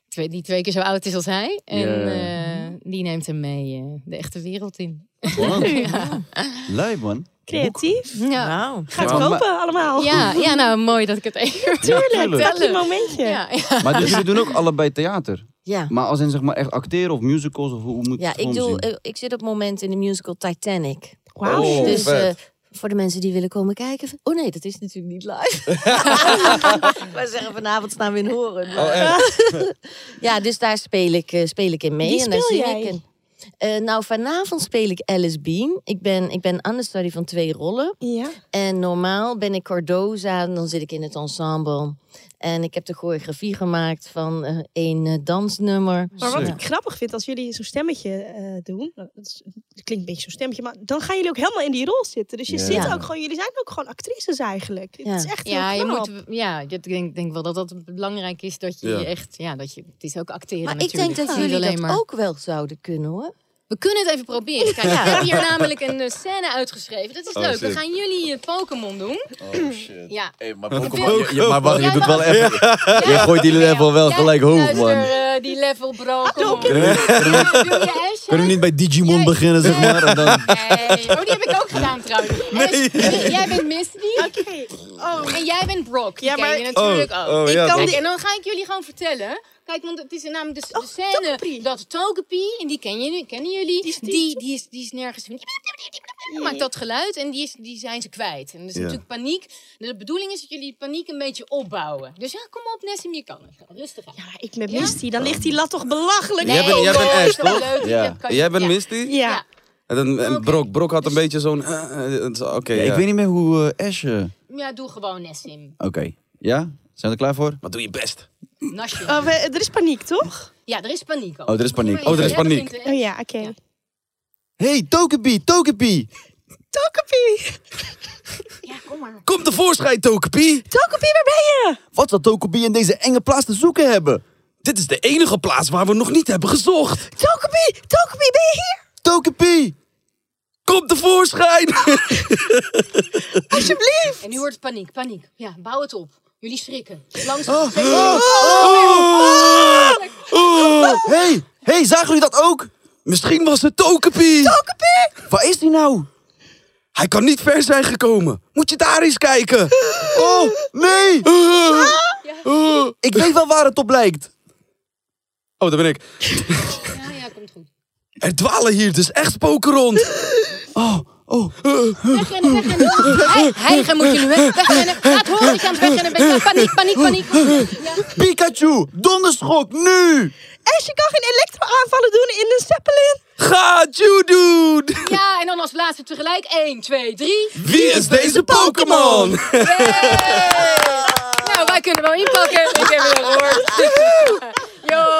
I: twee, die twee keer zo oud is als hij. En
C: Ja.
I: eh, die neemt hem mee eh, de echte wereld in.
C: Wow.
I: Ja.
C: Leuk man.
D: Creatief.
I: Ja.
D: Gaat
C: Ja,
D: kopen
I: maar-
D: allemaal.
I: Ja, ja, nou mooi dat ik het even
C: tuurlijk.
I: vertellen.
C: Pak je
D: momentje.
I: Ja, ja.
C: Maar dus jullie doen ook allebei theater?
H: Ja.
C: Maar als in zeg maar echt acteren of musicals of hoe moet
H: Ja,
C: het
H: ik,
C: voor
H: doe,
C: ons zien?
H: eh, ik zit op het moment in de musical Titanic.
C: Wauw. Oh,
H: dus eh,
C: vet.
H: voor de mensen die willen komen kijken. van- Oh nee, dat is natuurlijk niet live. Wij zeggen vanavond staan we in horen. ja, dus daar speel ik, eh, speel ik in mee.
D: Wie
H: en daar
D: speel
H: zing
D: jij?
H: ik. En, eh, nou, vanavond speel ik Alice Bean. Ik ben, ik ben understudy van twee rollen.
D: Ja.
H: En normaal ben ik Cordoza en dan zit ik in het ensemble. En ik heb de choreografie gemaakt van eh één eh, dansnummer.
D: Maar wat
H: Ja.
D: ik grappig vind, als jullie zo'n stemmetje eh, doen, nou, dat, is- het klinkt een beetje zo'n stemmetje, maar dan gaan jullie ook helemaal in die rol zitten. Dus je
I: Ja.
D: zit
I: Ja.
D: ook gewoon, jullie zijn ook gewoon actrices eigenlijk. Het is echt
I: ja,
D: heel
I: je
D: knap.
I: moet, ja, ik denk, denk wel dat dat belangrijk is dat je
H: Ja.
I: echt, ja, dat je, het is ook acteren
H: Maar ik
I: natuurlijk.
H: denk dat
I: Niet
H: jullie
I: alleen
H: dat
I: maar-
H: ook wel zouden kunnen hoor.
I: We kunnen het even proberen. Kijk, ik heb hier namelijk een eh, scène uitgeschreven. Dat is
H: Oh,
I: leuk.
H: sick.
I: We gaan jullie je Pokémon doen. Ja.
C: maar
I: Pokémon-
E: Oh, je- je- maar wacht, je
I: Jij
E: doet
I: mag-
E: wel even... Je gooit die level wel gelijk hoog,
I: Luister,
E: man.
I: eh, die level bro.
H: Ah,
I: Kom op.
E: Kunnen we niet bij Digimon beginnen, zeg maar? En dan...
I: Oh, die heb ik ook gedaan trouwens.
E: Nee.
I: Ash, jij bent Misty. Oké. Oh. En jij bent Brock. Ja, maar... je natuurlijk
E: Oh,
I: ook.
E: oh,
I: Ik
E: ja,
I: kan
E: toch.
I: die- Oh, En dan ga ik jullie gewoon vertellen. Kijk, want het is namelijk de, de scène dat Togepi, en die ken je, kennen jullie, die is, die, is, die is nergens... Maakt dat geluid en die, is, die zijn ze kwijt. En dat is
K: Ja.
I: natuurlijk paniek. De bedoeling is dat jullie die paniek een beetje opbouwen. Dus ja, kom op Nessim, je kan het. Rustig aan. Ja,
D: ik met Misty, dan ligt die lat toch belachelijk
E: Jij bent, jij bent
I: Oh,
E: Ash,
I: dat is wel
E: toch?
I: leuk.
E: Ja.
I: Ja.
E: Jij bent Misty?
D: Ja.
E: En, dan- en Brok, Brok had een beetje zo'n... eh, eh, het is- Oké,
C: Ja, Ik weet niet meer hoe eh Ash... eh, Oké.
I: Ja, doe gewoon Nessim.
C: Ja? Zijn we er klaar voor?
E: Maar doe je best.
I: Nasje.
D: Oh, we- er is paniek, toch?
I: Ja, er is paniek ook.
C: Oh, er is paniek.
I: Maar
C: Oh, er is
I: jij begint
C: paniek.
I: er-
D: Oh ja, oké.
C: Hey, Togepi, Togepi!
D: Tokopie!
E: Kom tevoorschijn, Togepi!
D: Tokopie, waar ben je?
C: Wat zal Togepi in deze enge plaats te zoeken hebben?
E: Dit is de enige plaats waar we nog niet hebben gezocht.
D: Tokopie, Tokopie, ben je hier?
C: Togepi!
E: Kom tevoorschijn!
H: Oh.
D: Alsjeblieft!
I: En nu wordt het paniek, paniek. Ja, bouw het op. Jullie schrikken. Langs.
C: Oh.
E: Oh.
C: Hey, hey, zagen jullie dat ook?
E: Misschien was het Tokepi.
D: Tokopie!
C: Waar is die nou?
E: Hij kan niet ver zijn gekomen. Moet je daar eens kijken.
C: Oh, nee!
H: Ah.
C: Ik weet wel waar het op lijkt.
E: Oh, daar ben ik.
I: Ja, ja, komt goed.
E: Er dwalen hier dus echt spoken rond.
C: Oh, oh.
I: Wegrennen, wegrennen. Hij, heilige moet je nu, hè. Wegrennen. Laat horen, ik kan wegrennen. Wegrennen. Paniek, paniek, paniek. Ja.
C: Pikachu, donderschok, nu!
D: Ash, je kan geen elektro-aanvallen doen in een Zeppelin.
E: Ga, you dude!
I: ja, en dan als laatste tegelijk. 1, 2, 3.
E: Wie is deze Pokémon?
I: Nou, wij kunnen wel inpakken. Ik heb het al gehoord. Yo.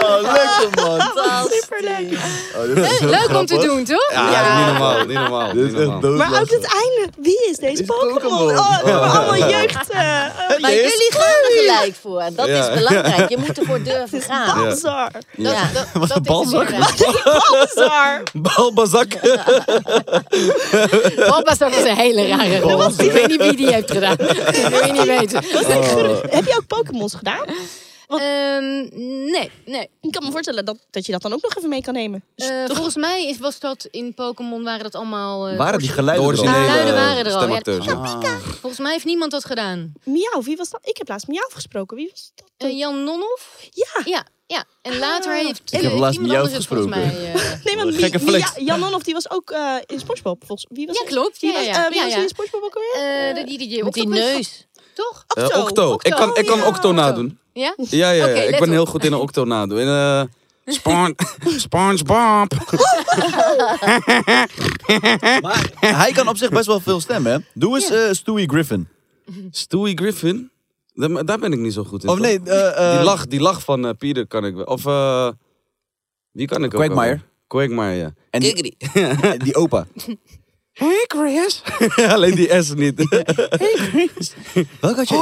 C: Oh, lekker man.
D: Superleuk.
I: Leuk om te doen, toch?
E: Ja,
I: Ja.
E: niet normaal, niet normaal. Dit is echt
D: Maar ook het einde. Wie is deze Pokémon? Oh, we hebben allemaal jeugd. eh, oh.
H: Maar jullie gaan er gelijk voor. En dat
E: Ja.
H: is belangrijk. Je moet ervoor durven gaan.
D: Balzar.
H: Ja.
E: Wat een balzak?
D: Balzar.
E: Balbazak.
I: Balbazak is een hele rare rol. Ik weet niet wie die heeft gedaan. Dat wil je niet weten.
D: Heb je ook Pokémons gedaan?
C: Oh.
I: Ehm, nee, nee.
D: Ik kan me voorstellen dat, dat je dat dan ook nog even mee kan nemen. Dus
I: Eh, volgens mij is, was dat in Pokémon waren dat allemaal. eh,
C: Waren die geluiden er al?
I: originele geluiden waren er al. ja.
E: stemacteurs, ja. Ah.
I: Volgens mij heeft niemand dat gedaan.
D: Miauw, wie was dat? Ik heb laatst Miauw gesproken. Wie was dat?
I: Eh, Jan Nonhoff?
D: Ja.
I: ja. Ja, en later
D: Ah.
I: heeft.
C: Ik heb
I: eh,
C: laatst
I: iemand
C: Miauw
I: anders het volgens
C: gesproken.
I: mij, eh,
D: Nee, want
C: Gekke
D: Mia-
C: flex.
D: Mia- Jan Nonhoff, die was ook eh, in SpongeBob. Volgens wie was
I: Ja,
D: het?
I: klopt.
D: Wie
I: Ja,
D: was,
I: ja,
D: eh, wie
I: ja,
D: was
I: ja.
D: die in SpongeBob ook alweer?
I: eh, die, die, die,
D: Met die
I: octopus-
D: neus.
I: Toch?
E: Eh, Octo. Ik kan, ik kan
I: ja.
E: Octo nadoen.
I: Ja?
E: Ja, ja, ja.
I: Oké,
E: ik
I: let
E: ben
I: op.
E: heel goed in een Octo nadoen. En, eh, Spon SpongeBob.
C: maar hij kan op zich best wel veel stemmen, hè? Doe eens eh, Stewie Griffin.
E: Stewie Griffin? Daar, daar ben ik niet zo goed in.
C: Of
E: toch?
C: nee, eh, eh,
E: die, lach, die lach van Oh, eh, Pieter kan ik wel. Of eh wie kan ik ook?
C: Quagmire.
E: alweer? Quagmire, ja.
C: En die, die opa.
E: Hey Chris. Alleen die S niet.
C: Hey Chris. Welk had je?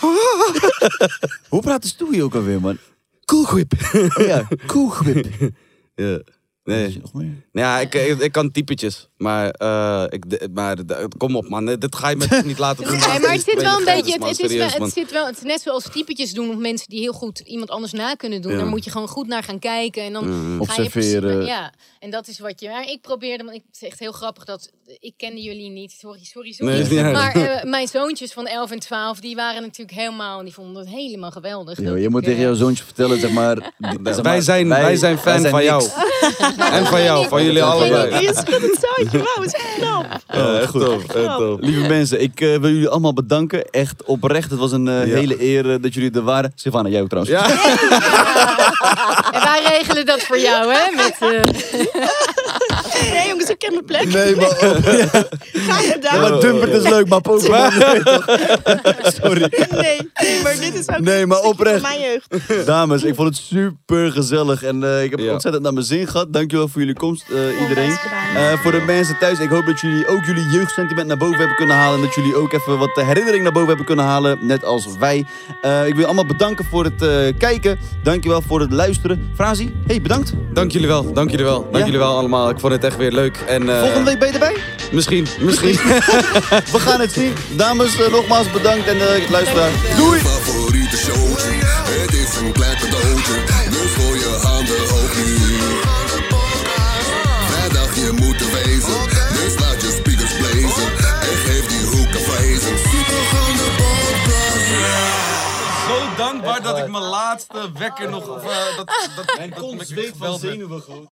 C: Oh. Hoe praat de Stewie ook alweer, man? Cool whip. ja, cool whip.
E: ja. Nee.
C: Nog meer?
E: Nou Ja, ik, ik, ik kan typetjes. Maar, eh ik, de- maar de- kom op, man. Dit ga je me toch niet laten doen.
I: Nee, maar het zit wel een beetje. Het,
E: Man,
I: het is wel,
E: serieus,
I: het
E: man.
I: zit wel. Het is net zoals typetjes doen of mensen die heel goed iemand anders na kunnen doen.
C: Ja.
I: Daar moet je gewoon goed naar gaan kijken en dan
C: Ja.
I: ga je precies-
C: Observeren.
I: ja, en dat is wat je. Maar ik probeerde, want ik het is echt heel grappig dat ik kende jullie niet. Sorry, sorry, sorry.
E: Nee, is niet erg.
I: maar eh, mijn zoontjes van 11 en 12, die waren natuurlijk helemaal, die vonden het helemaal geweldig.
C: Yo,
I: dat
C: je
I: ik,
C: moet tegen
I: eh,
C: jouw zoontje vertellen, zeg maar... zeg maar,
E: Wij zijn, wij, zijn fan
C: wij Dus zijn
E: van jou.
C: niks.
E: en van jou, van jullie allebei.
D: Je schudt het zoutje, wauw, het is echt knap.
E: Ja, echt tof, echt tof.
C: Oh, Lieve mensen, ik eh, wil jullie allemaal bedanken. Echt oprecht. Het was een eh, hele eer eh, dat jullie er waren. Sylvana, jij ook trouwens.
I: En wij regelen dat voor jou, hè? Met, eh,
D: Nee jongens, ik ken mijn plek.
C: Nee, maar...
D: Ga je
C: Ja,
D: daar?
C: maar Dumpert is leuk, maar Pokémon... Sorry.
D: Nee, nee, maar dit is ook
C: Nee, maar
D: van
C: oprecht.
D: mijn jeugd.
C: Dames, ik vond het super gezellig en eh, ik heb
E: Ja.
C: ontzettend naar mijn zin gehad. Dankjewel voor jullie komst, eh, iedereen.
D: graag gedaan.
C: Eh, voor de mensen thuis, ik hoop dat jullie ook jullie jeugdsentiment naar boven hebben kunnen halen. En dat jullie ook even wat eh, herinnering naar boven hebben kunnen halen, net als wij. Eh, ik wil allemaal bedanken voor het eh, kijken. Dankjewel voor het luisteren. Frazi, hey, bedankt.
E: Dank jullie wel, dank jullie wel, dank jullie wel allemaal. Ik vond het echt weer leuk. En, eh,
C: Volgende week ben je erbij.
E: Misschien, misschien.
C: We gaan het zien. Dames, eh, nogmaals bedankt en eh luisteraar. Doei!
A: Favoriete showtje, het is een klein cadeautje. Dus voor je handen ook nu. Vrijdag je moet er wezen, dus laat je speakers blazen. En geef die hoek een vrezen. Supergaande podcast.
E: Zo dankbaar dat ik mijn laatste wekker nog... Of, dat, dat, dat,
C: Mijn kont zweet van zenuwen gewoon.